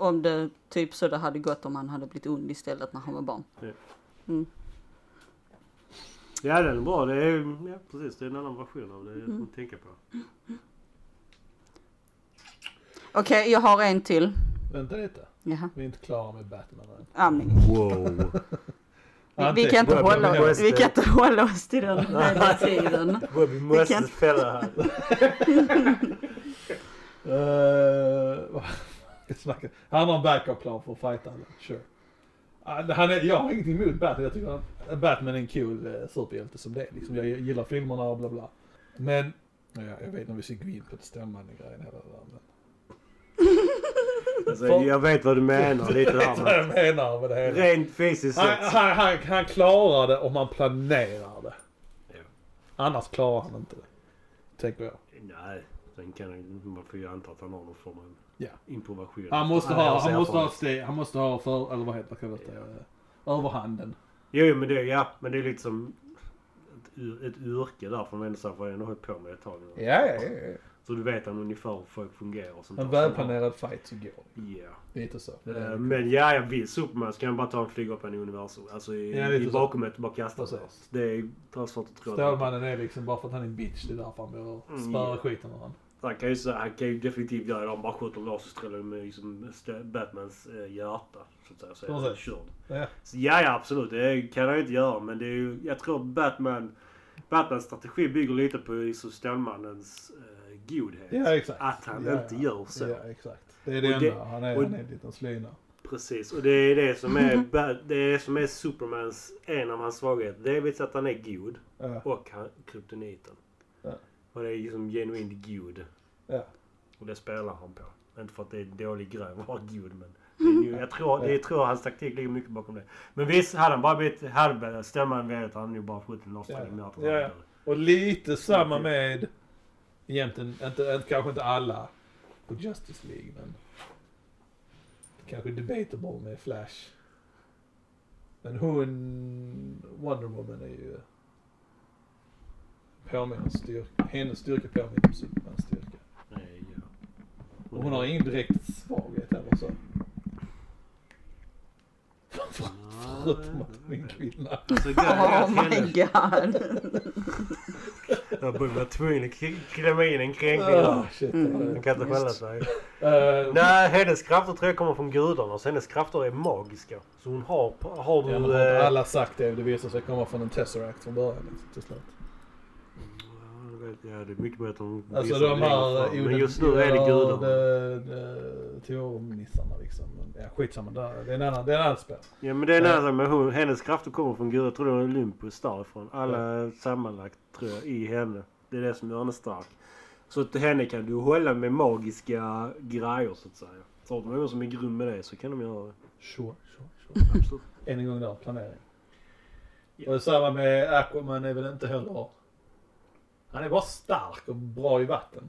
Speaker 2: Om det typ så det hade gått om han hade blivit ond istället när han var barn.
Speaker 3: Ja den är bra. Det är, ja, precis, det är en annan version av det
Speaker 2: Mm.
Speaker 3: att tänka på.
Speaker 2: Okej, jag har en till.
Speaker 1: Vänta lite.
Speaker 2: Jaha.
Speaker 1: Vi är inte klara med Batman än.
Speaker 2: Ja, men
Speaker 6: Wow.
Speaker 2: vi, vi, kan inte
Speaker 1: Anteckningar.
Speaker 2: hålla,
Speaker 1: Ja,
Speaker 2: vi kan inte hålla oss till den hela tiden.
Speaker 3: Bobby
Speaker 2: Vi kan-
Speaker 3: måste fälla här.
Speaker 1: Eh, vad jag snackar- han har en backup-plan för att fighta honom, sure. Han han är, jag har ingenting emot Batman, jag tycker han, Batman är en cool eh, superhjälte som det är. Liksom, jag gillar filmerna och bla bla. Men, ja, jag vet inte om vi ska gå in på det stämmande grejen hela det där. Men,
Speaker 3: Alltså,
Speaker 1: Folk-
Speaker 3: jag vet vad du menar lite
Speaker 1: jag vet vad
Speaker 3: där. men
Speaker 1: jag menar med det hela.
Speaker 3: Rent fysiskt
Speaker 1: Han,
Speaker 3: sett.
Speaker 1: han, han, han klarar det om han planerar det.
Speaker 3: Ja.
Speaker 1: Annars klarar han inte det. Tänker jag.
Speaker 3: Nej, sen kan han, man får ju anta att han har någon form av
Speaker 1: Ja.
Speaker 3: improvisation.
Speaker 1: Han måste
Speaker 3: är
Speaker 1: ha,
Speaker 3: också
Speaker 1: han måste ha,
Speaker 3: erfaren.
Speaker 1: steg, han måste ha för, eller vad heter det, vad heter det, eh, överhanden.
Speaker 3: Jo, jo, men det, ja, men det är lite som ett, yr- ett yrke där. För man ändå så här, får jag ändå hållit på med ett tag. nu.
Speaker 1: Ja, ja, ja.
Speaker 3: Så du vet han ungefär hur folk fungerar och sånt
Speaker 1: En
Speaker 3: där.
Speaker 1: välplanerad fight så går det.
Speaker 3: Ja.
Speaker 1: Lite så.
Speaker 3: Eh, Men ja, jag vill Superman så kan jag bara ta en flygvapen i universum. Alltså i,
Speaker 1: Ja, lite
Speaker 3: i
Speaker 1: så.
Speaker 3: bakomheten och bara kasta sig.
Speaker 1: Precis.
Speaker 3: Det är det är svårt att tro. att-
Speaker 1: Stålmannen är liksom bara för att han är en bitch, det är därför han börjar
Speaker 3: Mm,
Speaker 1: spöa
Speaker 3: ja.
Speaker 1: skiten ur honom.
Speaker 3: Han kan ju, så, han kan ju definitivt göra det. Han bara skjuter laserstrålar med liksom, st- Batmans eh, hjärta. Så att säga. Så är han
Speaker 1: Precis.
Speaker 3: körd.
Speaker 1: Ja.
Speaker 3: Så ja, ja, absolut. Det kan han ju inte göra. Men det är ju, jag tror Batman... Batmans strategi bygger lite på liksom, Stålmannens eh, godhet.
Speaker 1: Ja, exakt.
Speaker 3: Att han
Speaker 1: Ja,
Speaker 3: inte
Speaker 1: ja.
Speaker 3: gör så.
Speaker 1: Ja, exakt. Det är det
Speaker 3: Och det-
Speaker 1: enda. Han är,
Speaker 3: och-
Speaker 1: han är en liten slyna.
Speaker 3: Precis, och det är det som är, Bat- det är, det som är Supermans, en av hans svagheter. Dels att han är god
Speaker 1: Ja.
Speaker 3: och han, kryptoniten.
Speaker 1: Ja.
Speaker 3: Och det är liksom genuint god.
Speaker 1: Ja.
Speaker 3: Och det spelar han på. Inte för att det är dålig grej att vara god men det är ju, jag tror, det, jag tror hans taktik ligger mycket bakom det. Men visst, hade han bara blivit halvbädd, stämman velat, hade han ju bara skjutit en lastbil i
Speaker 1: Ja.
Speaker 3: mötet.
Speaker 1: Ja, ja. Och lite samma med, egentligen, inte, inte, kanske inte alla på Justice League, men kanske debatable med Flash. Men hon, Wonder Woman är ju påminner styrka, hennes styrka påminner om Supermans styrka.
Speaker 3: Nej, ja.
Speaker 1: Och hon har ingen direkt svaghet heller så. Förutom att hon är en kvinna.
Speaker 3: Så grejen är att
Speaker 2: Oh my
Speaker 3: henne-
Speaker 2: god.
Speaker 3: Jag borde vara tvungen att k- klämma in en kränkning där.
Speaker 1: Ah, shit.
Speaker 3: Hon kan inte skälla sig.
Speaker 1: Eh,
Speaker 3: Nej, hennes krafter tror jag kommer från gudarna. Så hennes krafter är magiska. Så hon har... Har du...
Speaker 1: Ja, men har
Speaker 3: eh,
Speaker 1: inte alla sagt det? Det visar sig komma från en Tesseract från början liksom, till slut.
Speaker 3: Ja, jag vet, Ja, det är mycket bättre om...
Speaker 1: Alltså
Speaker 3: visar
Speaker 1: de
Speaker 3: längre
Speaker 1: här
Speaker 3: fram. Men just nu är det gudarna.
Speaker 1: gudarna. Teornissarna liksom. Men, Ja, skitsamma. där- Det är en annan, det är en annan spel.
Speaker 3: Ja, men det är nära med hon. Hennes krafter kommer från gudar. Jag tror det var Olympus därifrån. Alla sammanlagt tror jag i henne. Det är det som gör henne stark. Så att henne kan du hålla med magiska grejer så att säga. Så har du någon som är grym med det så kan de göra det.
Speaker 1: Sure, sure, sure.
Speaker 3: Absolut.
Speaker 1: Än en gång där, planering.
Speaker 3: Ja.
Speaker 1: Och samma med Aquaman är väl inte heller... Han är bara stark och bra i vatten.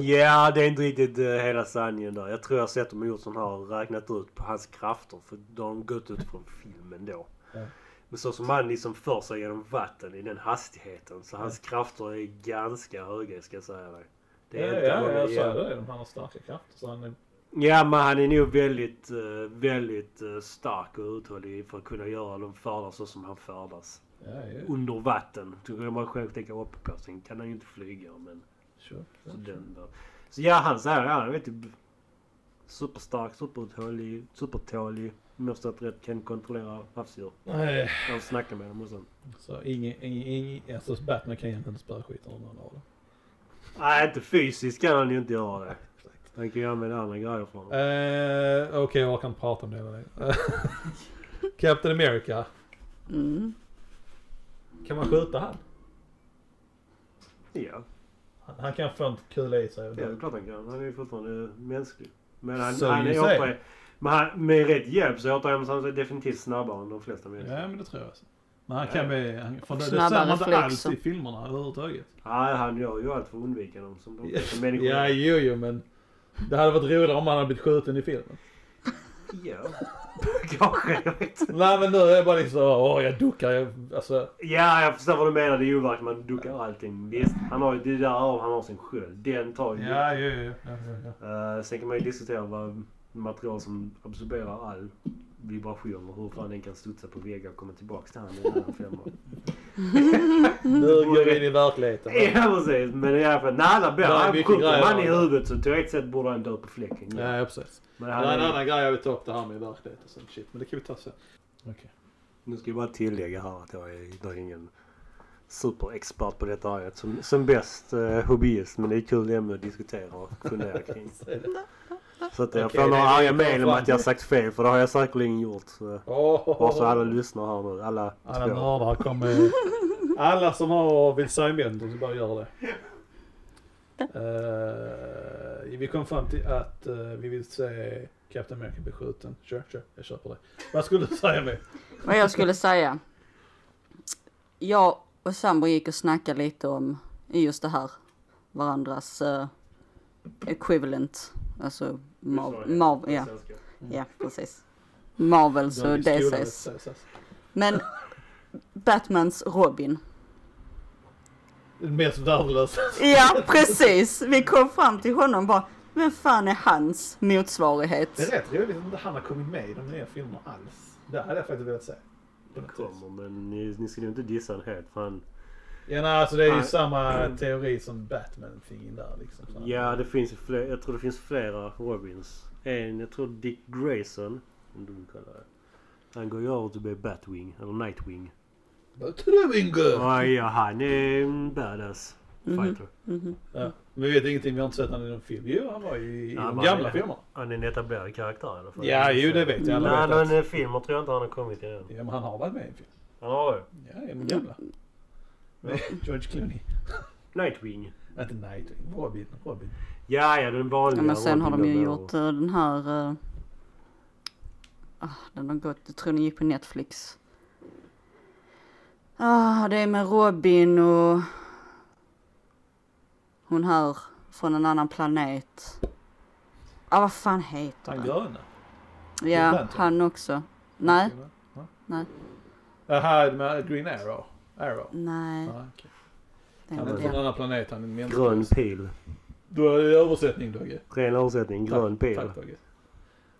Speaker 3: Ja, det är inte riktigt eh, hela sanningen där. Jag tror jag har sett dem gjort sån här och räknat ut på hans krafter. För då har de gått ut från filmen då.
Speaker 1: Ja.
Speaker 3: Men så som han liksom för sig genom vatten i den hastigheten. Så hans krafter är ganska höga ska jag säga dig. Det
Speaker 1: ja,
Speaker 3: inte
Speaker 1: ja,
Speaker 3: vad
Speaker 1: jag
Speaker 3: det
Speaker 1: sa
Speaker 3: är.
Speaker 1: det. Han har starka krafter. Så han är...
Speaker 3: Ja, men han är nog väldigt, eh, väldigt eh, stark och uthållig för att kunna göra de färdas så som han färdas.
Speaker 1: Ja, ja,
Speaker 3: Under vatten. Då kan man själv tänka upp på. Sen kan han ju inte flyga men...
Speaker 1: sure.
Speaker 3: Så, den var... så ja, han säger ja, han är typ superstark, superuthållig, supertålig. Om jag förstått rätt kan kontrollera havsdjur.
Speaker 1: Nej,
Speaker 3: Jag snackar med dem och sånt.
Speaker 1: så ingen, ingen, ingen, alltså Batman kan egentligen inte spöa skiten ur någon av dem.
Speaker 3: Nej, inte fysiskt kan han ju inte göra det. Han kan ju använda andra grejer för honom.
Speaker 1: Eh, Okej, jag orkar inte prata om det längre. Captain America.
Speaker 2: Mm.
Speaker 1: Kan man skjuta han?
Speaker 3: Ja,
Speaker 1: Han, han kan få en kula i sig.
Speaker 3: det är klart han kan. Han är ju fortfarande mänsklig. Men han,
Speaker 1: So
Speaker 3: han
Speaker 1: you
Speaker 3: är
Speaker 1: say.
Speaker 3: åter... Men han, med rätt hjälp så återhämtar han sig definitivt snabbare än de flesta människor.
Speaker 1: Ja, men det tror jag. Också. Men han
Speaker 3: Ja.
Speaker 1: kan bli... Han, för det, det
Speaker 2: Snabba
Speaker 1: ser man inte
Speaker 2: reflexer.
Speaker 1: alls i filmerna överhuvudtaget.
Speaker 3: Nej, han gör ju allt för att undvika dem som de flesta människor
Speaker 1: Ja,
Speaker 3: gör.
Speaker 1: jo, jo, men... Det hade varit roligare om han hade blivit skjuten i filmen.
Speaker 3: Ja, kanske. Jag vet
Speaker 1: Nej, men nu är jag bara liksom... Åh, jag duckar. Jag, alltså...
Speaker 3: Ja, jag förstår vad du menar. Det är ju verkligen man duckar allting. Visst, han har ju det där av han har sin sköld. Den tar ju...
Speaker 1: jo, jo. Ja, ja, ja.
Speaker 3: Eh, sen kan man ju diskutera vad material som absorberar all vibrationer. Hur fan den kan studsa på väggar och komma tillbaka till handen innan fem år.
Speaker 7: Nu går vi in i verkligheten.
Speaker 3: Ja precis. Men i alla fall. När alla blir
Speaker 7: Det är mycket
Speaker 3: avskjutna
Speaker 7: grejer.
Speaker 3: man i huvudet så teoretiskt sett borde han dö på fläcken. Ja.
Speaker 7: Ja, precis.
Speaker 3: Men
Speaker 7: Det är
Speaker 3: han
Speaker 7: en
Speaker 3: är,
Speaker 7: annan grej jag vill ta upp det här med verklighet och sånt shit. Men det kan vi ta sen.
Speaker 3: nu ska jag bara tillägga här att jag är, jag är ingen superexpert på detta här. Som, som bäst eh, hobbyist. Men det är ett kul ämne att diskutera och fundera kring. Så att jag
Speaker 7: Okej,
Speaker 3: får
Speaker 7: det
Speaker 3: några
Speaker 7: är det vi
Speaker 3: arga
Speaker 7: kom
Speaker 3: mejl om
Speaker 7: fram
Speaker 3: att jag har sagt fel. För det har jag säkerligen gjort. Så. Bara så alla lyssnar här nu. Alla
Speaker 1: Alla
Speaker 3: två.
Speaker 1: nördar kommer...
Speaker 7: Alla som har vill säga emot oss, bara gör det.
Speaker 1: Eh, vi kom fram till att eh, vi vill se Captain America bli skjuten. Kör, kör, jag köper det. Vad skulle du säga med?
Speaker 2: Vad jag skulle säga. Jag och sambo gick och snackade lite om just det här. Varandras eh, equivalent. Alltså Marv. Marv ja,
Speaker 3: Svenska.
Speaker 2: ja, precis. Marvels och DCs. Men Batmans Robin.
Speaker 1: Den mest värdelösa.
Speaker 2: Ja, precis. Vi kom fram till honom och bara. Vem fan är hans
Speaker 1: Det är
Speaker 2: motsvarighet?
Speaker 1: rätt roligt att han har kommit med i de nya filmerna alls. Det hade jag faktiskt velat se.
Speaker 3: Den kommer men ni, ni ska ju inte dissa den helt för han,
Speaker 1: Ja, nej, alltså det är ju
Speaker 3: Nej.
Speaker 1: samma teori som Batman fick in där liksom. Så här.
Speaker 3: Ja det finns ju flera, jag tror det finns flera Robins. En, jag tror Dick Grayson, en domkallare. Han går ju över till att bli Batwing, eller Nightwing.
Speaker 1: Batman-girl!
Speaker 3: Ja, ja han är en badass
Speaker 1: Mhm.
Speaker 3: fighter.
Speaker 2: Mm-hmm.
Speaker 1: Ja, men vi vet ingenting, vi har inte sett honom i någon film. Jo, han var ju i
Speaker 3: Ja,
Speaker 1: de
Speaker 3: men-
Speaker 1: gamla filmerna.
Speaker 3: Han är en etablerad karaktär i alla fall.
Speaker 1: Ja, jo, det vet jag. Alla
Speaker 3: Nej,
Speaker 1: vet
Speaker 3: men
Speaker 1: att-
Speaker 3: eh, filmer tror jag inte han har kommit till än.
Speaker 1: Ja, men han har varit med i en film.
Speaker 3: Han har ju
Speaker 1: Ja, i de gamla. Med George Clooney.
Speaker 3: Nightwing.
Speaker 1: Inte Nightwing, Robin. Robin.
Speaker 3: Ja, ja den
Speaker 2: Ja,
Speaker 3: vanliga
Speaker 2: men sen har de
Speaker 3: Robin
Speaker 2: ju
Speaker 3: då.
Speaker 2: gjort eh, den här... eh, ah, den har gått, jag tror den gick på Netflix. Ah, det är med Robin och hon här från en annan planet. Ah, vad fan heter
Speaker 1: Han
Speaker 2: den?
Speaker 1: gröna.
Speaker 2: Ja,
Speaker 1: Lantern.
Speaker 2: han också. Nej,
Speaker 1: Jaha, med Green Arrow. Arrow.
Speaker 2: nej.
Speaker 1: Ja, okej.
Speaker 2: det är
Speaker 1: Han är
Speaker 2: inte
Speaker 1: från en
Speaker 2: den.
Speaker 1: annan planet, han är en människa.
Speaker 3: Grön pil.
Speaker 1: Du har översättning Dogge.
Speaker 3: Ren översättning. Grön
Speaker 1: Tack,
Speaker 3: pil.
Speaker 1: tack, Dogge.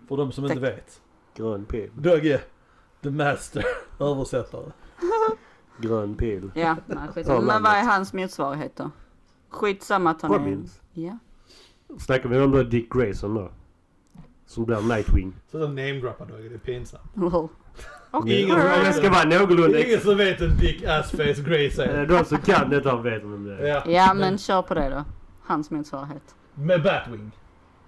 Speaker 1: För de som inte vet.
Speaker 3: Grön pil.
Speaker 1: Dogge, the master, översättare.
Speaker 3: Grön pil.
Speaker 2: Ja, nej, skitsamma.
Speaker 3: Ja,
Speaker 2: Men vad är
Speaker 3: landet.
Speaker 2: hans motsvarighet då? Skitsamma att han är...
Speaker 3: Robins.
Speaker 2: Ja.
Speaker 3: Snackar vi om då Dick Grayson då? Som blir Nightwing.
Speaker 1: Så de namedroppar Dogge, det är pinsamt.
Speaker 2: Lol. Okej.
Speaker 3: Ingen som det ska vara någorlunda
Speaker 1: Ingen som vet en dick assface Grace
Speaker 3: Eh,
Speaker 1: är.
Speaker 3: De som kan detta vet vem det är.
Speaker 1: Ja.
Speaker 2: Ja, men kör på det då. Hans motsvarighet.
Speaker 1: Med Batwing.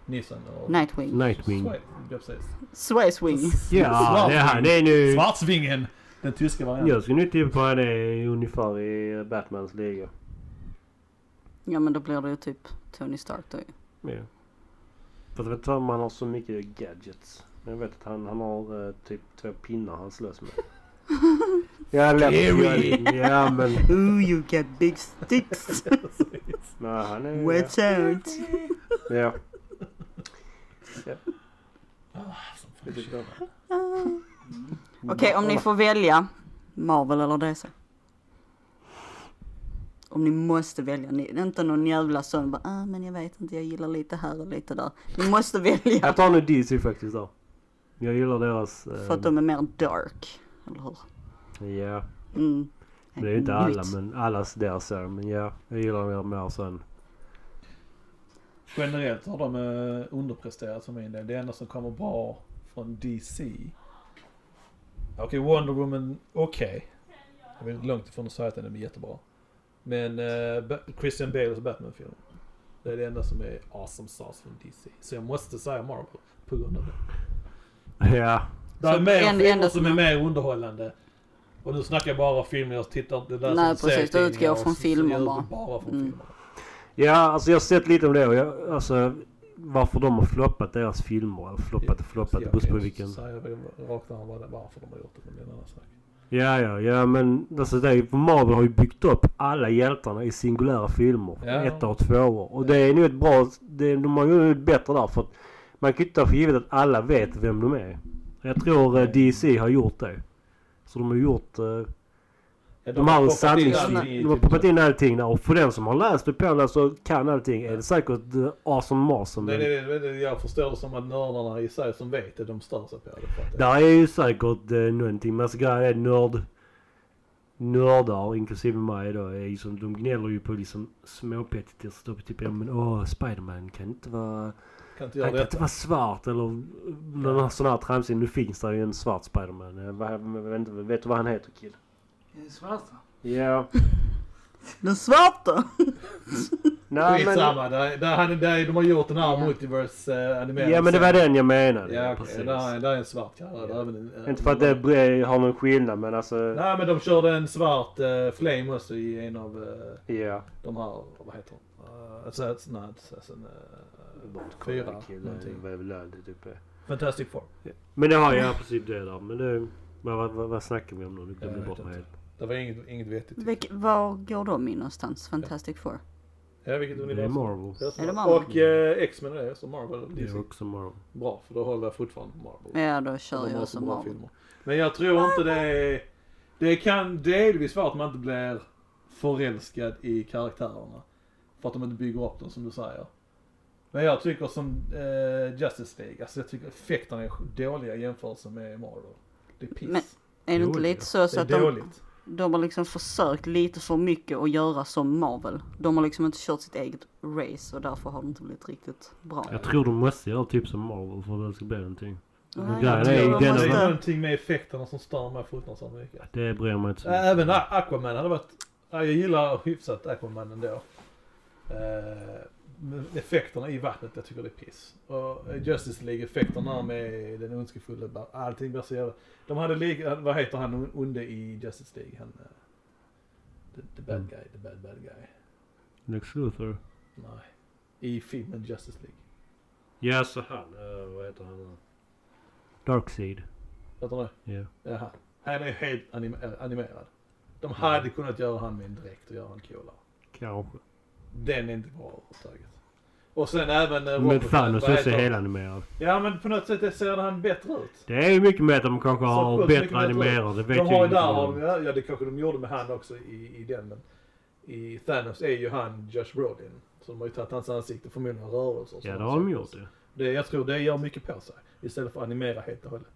Speaker 1: Nissen och...
Speaker 2: Nightwing.
Speaker 3: Nightwing.
Speaker 1: Sway- Ja, precis.
Speaker 2: Swayzwing.
Speaker 3: Ja, det är han. Det är nu...
Speaker 1: Svartsvingen! Den tyska varianten.
Speaker 3: Jag skulle nu tippa på att han är ungefär i Batmans liga.
Speaker 2: Ja men då blir det ju typ Tony Stark då ju.
Speaker 3: Ja. Fast jag vet inte om han har så mycket gadgets. Men jag vet att han, han har eh, typ två pinnar han slåss med. Ja, lätt. Ja, men...
Speaker 2: Ooh you get big sticks.
Speaker 3: Nej, han är...
Speaker 2: Watch out.
Speaker 3: Ja. typ
Speaker 2: Okej om ni får välja Marvel eller DC. Om ni måste välja. Ni, det är inte någon jävla sån bara ah, men jag vet inte jag gillar lite här och lite där. Ni måste välja.
Speaker 3: Jag tar nu DC faktiskt då. Jag gillar deras... eh,
Speaker 2: För att de är mer dark. Eller hur?
Speaker 3: Ja.
Speaker 2: Mm.
Speaker 3: Det är ju inte alla
Speaker 2: Nytt.
Speaker 3: men allas deras så. Men ja, jag gillar dem mer sen.
Speaker 1: Generellt har de eh, underpresterat för min del. Det enda som kommer bra från DC. Okej, Wonder Woman, okej. Jag vill långt ifrån att säga att den är jättebra. Men eh, Ba- Christian Bales Batman-film. Det är det enda som är awesome sauce från DC. Så jag måste säga Marvel på grund av det.
Speaker 3: Ja.
Speaker 1: Det är
Speaker 2: Så
Speaker 1: mer
Speaker 2: en-
Speaker 1: filmer
Speaker 2: enda
Speaker 1: som
Speaker 2: som-
Speaker 1: är mer underhållande. Och nu snackar jag bara filmer, jag tittar inte... läser
Speaker 2: Nej,
Speaker 1: inte
Speaker 2: precis. Då
Speaker 1: serietidningar
Speaker 2: utgår jag
Speaker 1: och
Speaker 2: från
Speaker 1: så-
Speaker 2: filmer
Speaker 1: jag utgår
Speaker 2: bara.
Speaker 1: bara från
Speaker 2: Mm.
Speaker 1: filmer.
Speaker 3: Ja, alltså jag har sett lite om det och jag, alltså varför de har floppat deras filmer. Eller floppat och floppat, det
Speaker 1: Jag
Speaker 3: beror på
Speaker 1: kan
Speaker 3: vilken.
Speaker 1: säga rakt av vad det- varför de har gjort det, men det är en annan sak.
Speaker 3: Ja, ja, ja men alltså det är, ju- Marvel har ju byggt upp alla hjältarna i singulära filmer.
Speaker 1: Ja.
Speaker 3: Ett och två år. Och det är nog ett bra, det, de har ju ett bättre där för att man kan ju inte ta för givet att alla vet vem de är. Jag tror eh, DC har gjort det. Så de har gjort eh,
Speaker 6: Ja,
Speaker 3: De har
Speaker 6: poppat in
Speaker 3: satt-
Speaker 6: där i-
Speaker 3: de har
Speaker 1: typ-
Speaker 3: poppat in allting där och för den som har läst och påläst och kan allting är det säkert eh, awesome awesome.
Speaker 1: Nej,
Speaker 3: Men
Speaker 1: nej, nej, nej, jag förstår det som att nördarna i sig som vet det, de stör sig på det. För att det
Speaker 3: Där är ju säkert eh, någonting. Men så grejen är nörd... Nördar, inklusive mig då, är ju som, de gnäller ju på liksom småpetigheter. Typ, ja men åh, Spiderman kan inte vara...
Speaker 1: kan inte göra
Speaker 3: Han kan inte
Speaker 1: detta.
Speaker 3: vara svart eller någon sån här tramsig. Nu finns det ju en svart Spiderman. Eh, vad- Vet, inte- vet du vad han heter kid?
Speaker 4: Svarta.
Speaker 3: Ja.
Speaker 2: Den svarta!
Speaker 3: Nej men...
Speaker 1: Skitsamma, där, där, han- där, de har gjort den här
Speaker 2: Ja.
Speaker 1: multiverse eh, animerade
Speaker 3: Ja men det var den jag menade.
Speaker 1: Ja, okej.
Speaker 3: precis.
Speaker 1: Där, är- där är en svart karl. där är även en- en-
Speaker 3: Inte för att det bre- har någon skillnad men alltså...
Speaker 1: Nej men de körde en svart eh, flame också i en av eh,
Speaker 3: Ja.
Speaker 1: de här, vad heter hon? Uh, Assassin, nej inte Assassin. Uh, fyra, någonting.
Speaker 3: typ, eh?
Speaker 1: Fantastic Four.
Speaker 3: Men det har jag precis det där. Men det... Vad, vad, vad, vad snackar vi om nu? Nu glömde
Speaker 1: Jag
Speaker 3: jag bort
Speaker 1: vet
Speaker 3: mig helt.
Speaker 1: Det var inget, inget vettigt.
Speaker 2: Vilk, var går de in någonstans? Fantastic Four?
Speaker 1: Ja, vilket
Speaker 3: Det är
Speaker 1: universum.
Speaker 3: Marvel.
Speaker 2: Är det Marvel?
Speaker 1: Och eh, X-Men är det, så Marvel och
Speaker 3: Det
Speaker 1: DC.
Speaker 3: är också Marvel.
Speaker 1: Bra, för då håller jag fortfarande på Marvel.
Speaker 2: Ja, då kör
Speaker 1: De har
Speaker 2: jag
Speaker 1: så
Speaker 2: som
Speaker 1: bra
Speaker 2: Marvel.
Speaker 1: filmer. Men jag tror inte det är... Det kan delvis vara att man inte blir förälskad i karaktärerna. För att de inte bygger upp dem som du säger. Men jag tycker som eh, Justice League, alltså jag tycker effekterna är dåliga i jämförelse med Marvel. Det är piss.
Speaker 2: Men- Är det inte
Speaker 3: Jo,
Speaker 2: lite
Speaker 3: det-
Speaker 2: så, så att
Speaker 1: det är
Speaker 2: de,
Speaker 1: dåligt.
Speaker 2: de har liksom försökt lite för mycket att göra som Marvel? De har liksom inte kört sitt eget race och därför har det inte blivit riktigt bra.
Speaker 3: Jag tror de måste göra typ som Marvel för att det ska bli någonting.
Speaker 2: Nej,
Speaker 3: Ja,
Speaker 2: jag
Speaker 3: det
Speaker 2: tror
Speaker 3: är ju
Speaker 2: de
Speaker 3: den
Speaker 1: Det är
Speaker 3: av-
Speaker 2: måste...
Speaker 1: någonting med effekterna som stör mig fruktansvärt mycket.
Speaker 3: Det bryr jag mig inte så mycket
Speaker 1: Ä- Eh, Även A- Aquaman hade varit... Ja, jag gillar hyfsat Aquaman ändå. Eh, men effekterna i vattnet, jag tycker det är piss. Och eh, Justice League, effekterna med den ondskefulla, bara- allting blir så jävla... De hade lika, vad heter han onde i Justice League? Han... eh, The, the bad guy, the bad bad guy. Äh.
Speaker 3: Lex Luthor.
Speaker 1: Nej. I filmen Justice League.
Speaker 3: Ja så han. eh, vad heter han då? Darkseid.
Speaker 1: Vet du det?
Speaker 3: Ja.
Speaker 1: Det är han. Han är helt anim- eh, animerad. De hade kunnat göra han med en dräkt och göra han coolare. Äh,
Speaker 3: Kanske.
Speaker 1: Den är inte bra överhuvudtaget. Och sen även... eh,
Speaker 3: Men
Speaker 1: Robert-
Speaker 3: Thanos
Speaker 1: vad
Speaker 3: också
Speaker 1: heter
Speaker 3: är
Speaker 1: han?
Speaker 3: helanimerad.
Speaker 1: Ja men på något sätt ser han bättre ut.
Speaker 3: Det är ju mycket med att de kanske
Speaker 1: Så
Speaker 3: har
Speaker 1: sjukt mycket
Speaker 3: bättre
Speaker 1: bättre.
Speaker 3: animerade. Det
Speaker 1: De
Speaker 3: vet jag
Speaker 1: har ju
Speaker 3: ingenting
Speaker 1: där, har
Speaker 3: om.
Speaker 1: de- ja det kanske de gjorde med han också i, i den men i Thanos är ju han Josh Brolin. Så de har ju tagit hans ansikte förmodligen rörelser. och
Speaker 3: Ja det
Speaker 1: sådana
Speaker 3: har de
Speaker 1: saker.
Speaker 3: gjort det.
Speaker 1: det. Jag tror det gör mycket på sig. Istället för att animera helt och hållet.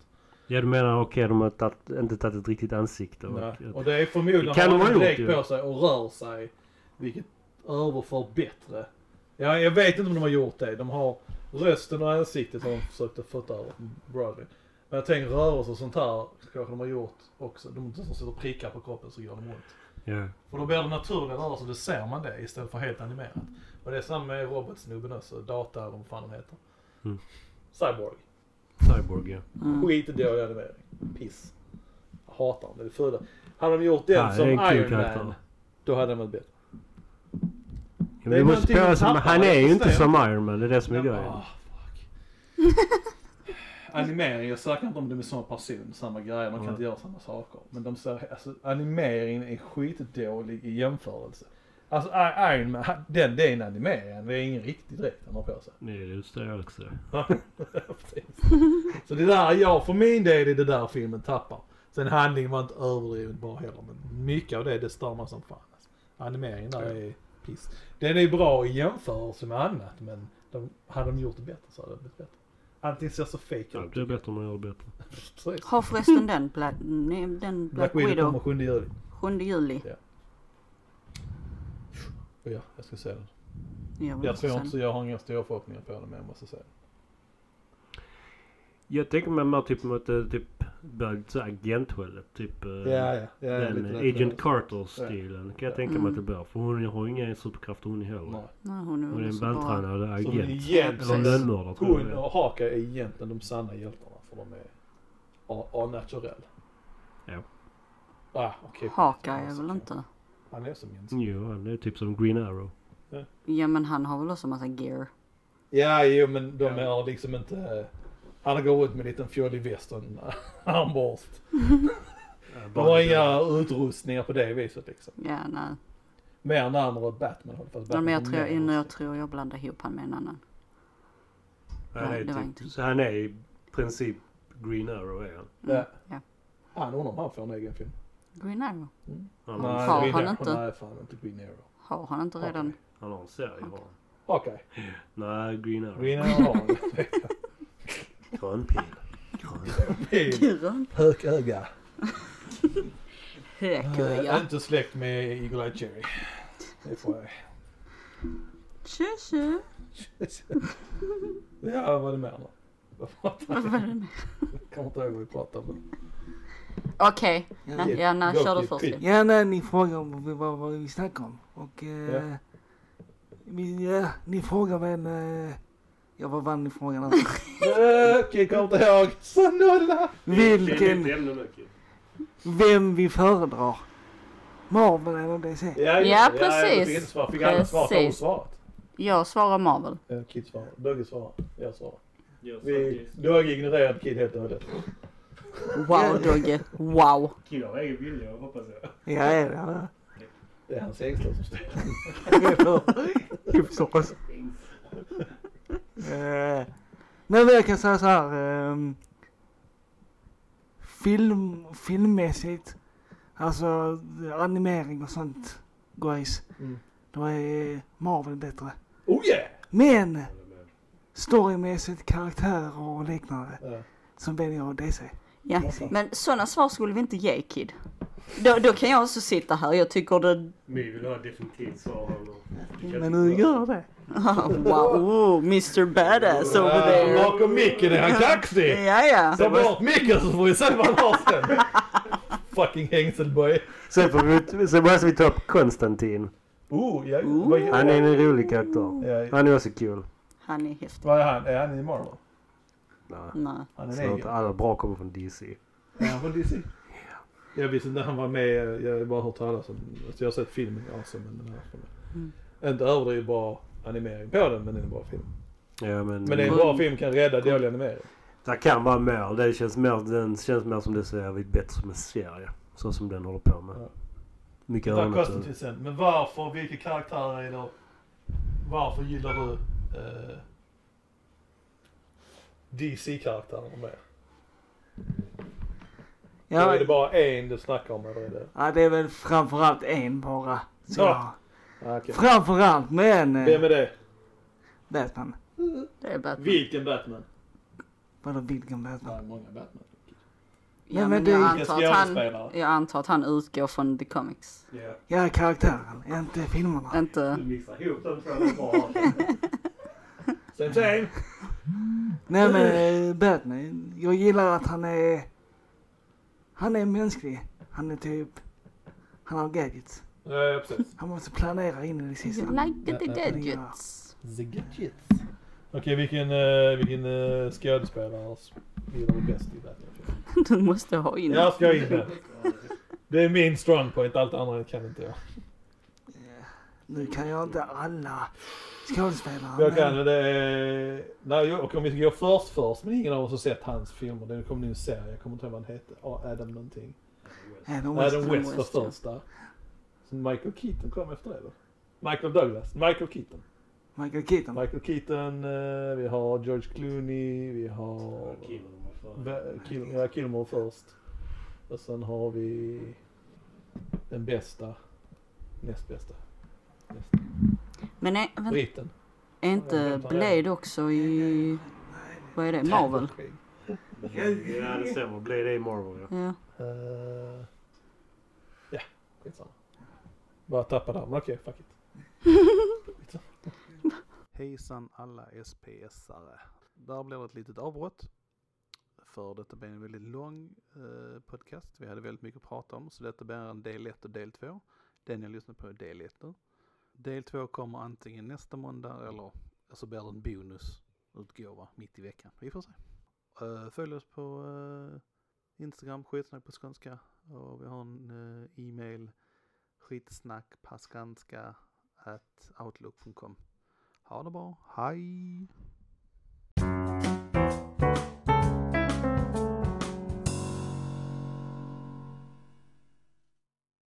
Speaker 3: Ja du menar okej de har tatt, inte tagit ett riktigt ansikte och...
Speaker 1: Nej. Och det är förmodligen
Speaker 3: Det kan
Speaker 1: har
Speaker 3: de ha
Speaker 1: han en
Speaker 3: gjort
Speaker 1: dräkt
Speaker 3: ju.
Speaker 1: på sig och rör sig. Vilket överför bättre. Ja, jag vet inte om de har gjort det. De har rösten och ansiktet har de försökt att fota över Bradley. Men jag tänker rörelser och sånt här kanske de har gjort också. De som sätter prickar på kroppen så gör de ont.
Speaker 3: Ja.
Speaker 1: För då blir det naturliga rörelser, då ser man det istället för helt animerat. Och det är samma med robotsnubben också, data eller vad fan de heter.
Speaker 3: Mm.
Speaker 1: Cyborg.
Speaker 3: Cyborg ja.
Speaker 2: Mm.
Speaker 1: Skitdålig animering. Piss. Jag hatar dem, det är det fula. Hade de gjort den
Speaker 3: Ja, det är
Speaker 1: som
Speaker 3: en kul
Speaker 1: Iron
Speaker 3: karaktär.
Speaker 1: Man, då hade den varit bättre. Det
Speaker 3: Ja,
Speaker 1: är
Speaker 3: men du måste
Speaker 1: någonting de
Speaker 3: spela som,
Speaker 1: tappar,
Speaker 3: han
Speaker 1: jag
Speaker 3: är ju inte
Speaker 1: förstår.
Speaker 3: som Iron Man, det är det som är
Speaker 1: Men,
Speaker 3: grejen.
Speaker 1: ah, fuck. Animering, jag söker inte om de är samma person, samma grejer, man kan
Speaker 3: Nej.
Speaker 1: inte göra samma saker. Men de ser, alltså animeringen är skitdålig i jämförelse. Alltså I- Iron Man, han- den, det är en animering, det är ingen riktig dräkt han har på sig.
Speaker 3: Nej det förstår jag också.
Speaker 1: Precis. Så det där, jag för min del är det där filmen tappar. Sen handlingen var inte överdrivet bra heller, men mycket av det, det stör man som fan. Alltså. Animeringen där är piss. Den är bra i jämförelse med annat, men de, hade de gjort det bättre så hade det blivit bättre. Antingen ser så fake ut.
Speaker 3: Ja, det är bättre om man gör det bättre.
Speaker 1: Precis.
Speaker 2: Har förresten den Black, nej, den Black,
Speaker 1: Black Widow kommer
Speaker 2: Widow
Speaker 1: 7 juli.
Speaker 2: 7 juli?
Speaker 1: Ja, jag ska se den.
Speaker 2: Jag vill
Speaker 1: Jag tror
Speaker 2: se
Speaker 1: inte så, jag har inga stora förhoppningar på den, men jag måste se den.
Speaker 3: Jag tänker mig mer typ mot eh, typ börja så här agenthållet. Typ eh,
Speaker 1: ja.
Speaker 3: den eh, Agent Carter-stilen kan jag
Speaker 1: Ja.
Speaker 3: tänka mig att det
Speaker 2: Mm.
Speaker 3: blir. För hon har inga superkrafter hon
Speaker 1: Nej.
Speaker 3: heller.
Speaker 2: Nej, hon är
Speaker 3: Hon är
Speaker 2: väl
Speaker 3: en
Speaker 2: så bra.
Speaker 3: vältränad
Speaker 1: Som
Speaker 3: agent.
Speaker 1: egentligen
Speaker 3: Eller
Speaker 2: Precis.
Speaker 3: lönnmördare tror
Speaker 1: Hon
Speaker 3: jag.
Speaker 1: och Haka är egentligen de sanna hjältarna för de är a- a naturell.
Speaker 3: Ja.
Speaker 1: Ah, okej.
Speaker 2: Haka är väl inte?
Speaker 1: Han är som Jens.
Speaker 3: Jo, han är typ som Green Arrow.
Speaker 2: Ja men han har väl också massa gear.
Speaker 1: Ja, jo men de är liksom inte... Han går ut med en liten fjollig väst och en armborst. De har inga utrustningar på det viset liksom.
Speaker 2: Ja nej.
Speaker 1: Mer närmare Batman håller fast Batman
Speaker 2: Men jag
Speaker 1: har
Speaker 2: tror,
Speaker 1: mer
Speaker 2: jag, jag
Speaker 1: utrustning.
Speaker 2: tror jag blandar ihop han med en annan.
Speaker 3: Han
Speaker 2: Nej,
Speaker 3: är,
Speaker 2: det var
Speaker 3: typ,
Speaker 2: inte.
Speaker 3: så han är i princip Green Arrow är han.
Speaker 1: Ja.
Speaker 2: mm, ja.
Speaker 1: Han undrar om han får en egen film.
Speaker 2: Green Arrow?
Speaker 3: Han har,
Speaker 2: Nej.
Speaker 3: Nej.
Speaker 2: Har
Speaker 1: Green
Speaker 2: han
Speaker 1: Arrow.
Speaker 2: inte?
Speaker 1: Nej, fan inte Green Arrow.
Speaker 2: Har han inte redan?
Speaker 3: han har en serie har han.
Speaker 1: Okej.
Speaker 3: Nej, Green Arrow.
Speaker 1: Green Arrow har han.
Speaker 3: Grön pil. Grön.
Speaker 1: Pil.
Speaker 2: Kuren?
Speaker 1: Hököga.
Speaker 2: Hökuria.
Speaker 1: Eh, Inte släkt med Eagle Eye Cherry. Det får jag.
Speaker 2: Tjo tjo.
Speaker 1: Ja, vad är det mer då? Vad pratar
Speaker 2: Vad var det nu?
Speaker 1: Jag kommer inte ihåg vad vi pratade om.
Speaker 2: Okej,
Speaker 4: Ja.
Speaker 2: Nej, ja, nej,
Speaker 1: Go,
Speaker 2: kör du
Speaker 1: kid,
Speaker 2: först.
Speaker 1: kid.
Speaker 2: Liv.
Speaker 4: Ja, nej, ni frågar om vi- vad, vad vi snackar om. Och... Eh, vi, ja, ni frågar vem... Eh, ja, vad vann ni frågan om?
Speaker 1: Eh, Okej, kommer inte ihåg. Sannolla!
Speaker 3: Det är
Speaker 4: Vilken...
Speaker 3: nytt ämne nu, kid.
Speaker 4: Vem vi föredrar? Marvel eller DC?
Speaker 1: Ja,
Speaker 2: just det. Ja, precis.
Speaker 1: Jag fick inte svar. Fick alla svar på
Speaker 2: Precis.
Speaker 1: svaret?
Speaker 2: Jag svarar Marvel.
Speaker 1: Eh, Kid svarar. Dogge svarar. Jag svarar.
Speaker 3: Jag
Speaker 1: Vi,
Speaker 3: sa
Speaker 1: Dogge ignorerade Kid helt och hållet.
Speaker 2: Wow Dogge, wow.
Speaker 3: att Kid har egen vilja hoppas jag.
Speaker 4: Ja, ja, ja.
Speaker 1: Det är hans Engström som styr.
Speaker 4: Typ så. Eh, Nej, men jag kan säga så här. ehm, film, filmmässigt, alltså animering och sånt, guys.
Speaker 1: Mm.
Speaker 4: Då är Marvel bättre.
Speaker 1: Oh yeah!
Speaker 4: Men storymässigt, karaktärer och liknande,
Speaker 1: Ja.
Speaker 4: så väljer jag DC.
Speaker 2: Ja. Men sådana svar skulle vi inte ge Kid. Då, då kan jag också sitta här, jag tycker det...
Speaker 3: My vill ha definitivt svar. här nu. Du kan
Speaker 4: Men
Speaker 3: inte
Speaker 4: nu
Speaker 3: bara-
Speaker 4: gör det.
Speaker 2: Wow, oh, Mr Badass
Speaker 1: Ah,
Speaker 2: over there.
Speaker 1: Bakom micken är han kaxig!
Speaker 2: Ja, ja.
Speaker 1: Ta bort micken så får vi se vad han har sen. Fucking hängselboy.
Speaker 3: Sen får vi, sen måste vi ta upp Konstantin.
Speaker 1: Oh, ja.
Speaker 2: Ooh.
Speaker 1: Vad gör
Speaker 3: Han är en rolig karaktär.
Speaker 1: Ja,
Speaker 3: Han är också kul.
Speaker 2: Han är häftig.
Speaker 1: Eh, Vad är han? Är han i Marvel?
Speaker 3: Nej.
Speaker 2: Nej.
Speaker 1: Han är en
Speaker 3: Så att
Speaker 1: egen.
Speaker 3: alla bra kommer från DC.
Speaker 1: Är han från DC? Jag visste inte han var med. Jag har bara hört talas om alltså Jag har sett filmen, ja, så, men den här filmen. Inte överdrivet bra animering på den, men det är en bra film.
Speaker 3: Ja, men,
Speaker 1: Men en bra film kan rädda dålig animering.
Speaker 3: Det kan vara mer. Det känns mer, den känns mer som det ser vi bättre som en serie. Så som den håller på med.
Speaker 1: Ja.
Speaker 3: Mycket
Speaker 1: Där
Speaker 3: annat.
Speaker 1: kostar till sen. Men varför, vilka karaktärer är det? Varför gillar du eh, DC-karaktärerna mer? Eller
Speaker 4: Ja,
Speaker 1: är det bara en du snackar om eller är det?
Speaker 4: ja, det är väl framförallt en bara. Så
Speaker 1: Ja. Ah, okej.
Speaker 4: Framförallt, men... eh,
Speaker 1: Vem är det?
Speaker 4: Batman.
Speaker 2: Det är Batman.
Speaker 1: Vilken Batman?
Speaker 4: Vadå vilken Batman?
Speaker 1: är många Batman.
Speaker 2: Ja,
Speaker 4: men
Speaker 2: men
Speaker 4: det-
Speaker 2: jag
Speaker 1: Vilka
Speaker 2: antar att han...
Speaker 1: skådespelare?
Speaker 2: Jag antar att han utgår från The Comics.
Speaker 4: Ja, karaktären, inte filmerna.
Speaker 2: Inte...
Speaker 3: mixar ihop dem två.
Speaker 1: Same same!
Speaker 4: Nej men eh, Batman, jag gillar att han är... Han är mänsklig. Han är typ... Han har gadgets.
Speaker 1: Ja, ja, precis.
Speaker 4: Han måste planera in i det
Speaker 2: You
Speaker 4: sista.
Speaker 2: like the gadgets.
Speaker 1: The Gadgets. Okej, vilken, eh, vilken eh, skådespelare gillar du bäst i Batman?
Speaker 2: Du måste ha in
Speaker 1: Jag ska in det. Det är min strong point, allt annat kan inte jag.
Speaker 4: Eh, Nu kan jag inte alla skådespelare.
Speaker 1: Jag kan det är... Nej, jag- och om vi ska gå först först, men ingen av oss har sett hans filmer. Det kom nu en serie, jag kommer inte ihåg vad han hette. Ja, Adam någonting.
Speaker 4: men- Nej, de måste...
Speaker 1: Adam West var
Speaker 2: West, ja.
Speaker 1: första. Sen Michael Keaton kom efter det då. Michael Douglas. Michael Keaton.
Speaker 4: Michael Keaton.
Speaker 1: Michael Keaton, eh, vi har George Clooney, vi har... Va- Kil- ja, Kilmer först. Och sen har vi den bästa. Näst bästa.
Speaker 2: Men är, vänta,
Speaker 1: Britten.
Speaker 2: är inte Blade också i... Vad är det? Marvel?
Speaker 3: Ja, det stämmer. Blir det i Marvel, ja.
Speaker 2: Ja.
Speaker 1: Eh, Ja, skitsamma. Bara tappade han, men okej, fuck it.
Speaker 6: Hejsan alla SPS-are. Där blir det ett litet avbrott. För detta blir en väldigt lång eh, podcast. Vi hade väldigt mycket att prata om. Så detta blir en del 1 och del 2. Den jag lyssnar på är del 1 nu. Del 2 kommer antingen nästa måndag eller så blir det en bonusutgåva mitt i veckan. Vi får se. Eh, följ oss på eh, Instagram, skitsnack på skånska. Och vi har en eh, e-mail, skitsnack på skånska at outlook.com. Ha det bra. Hej!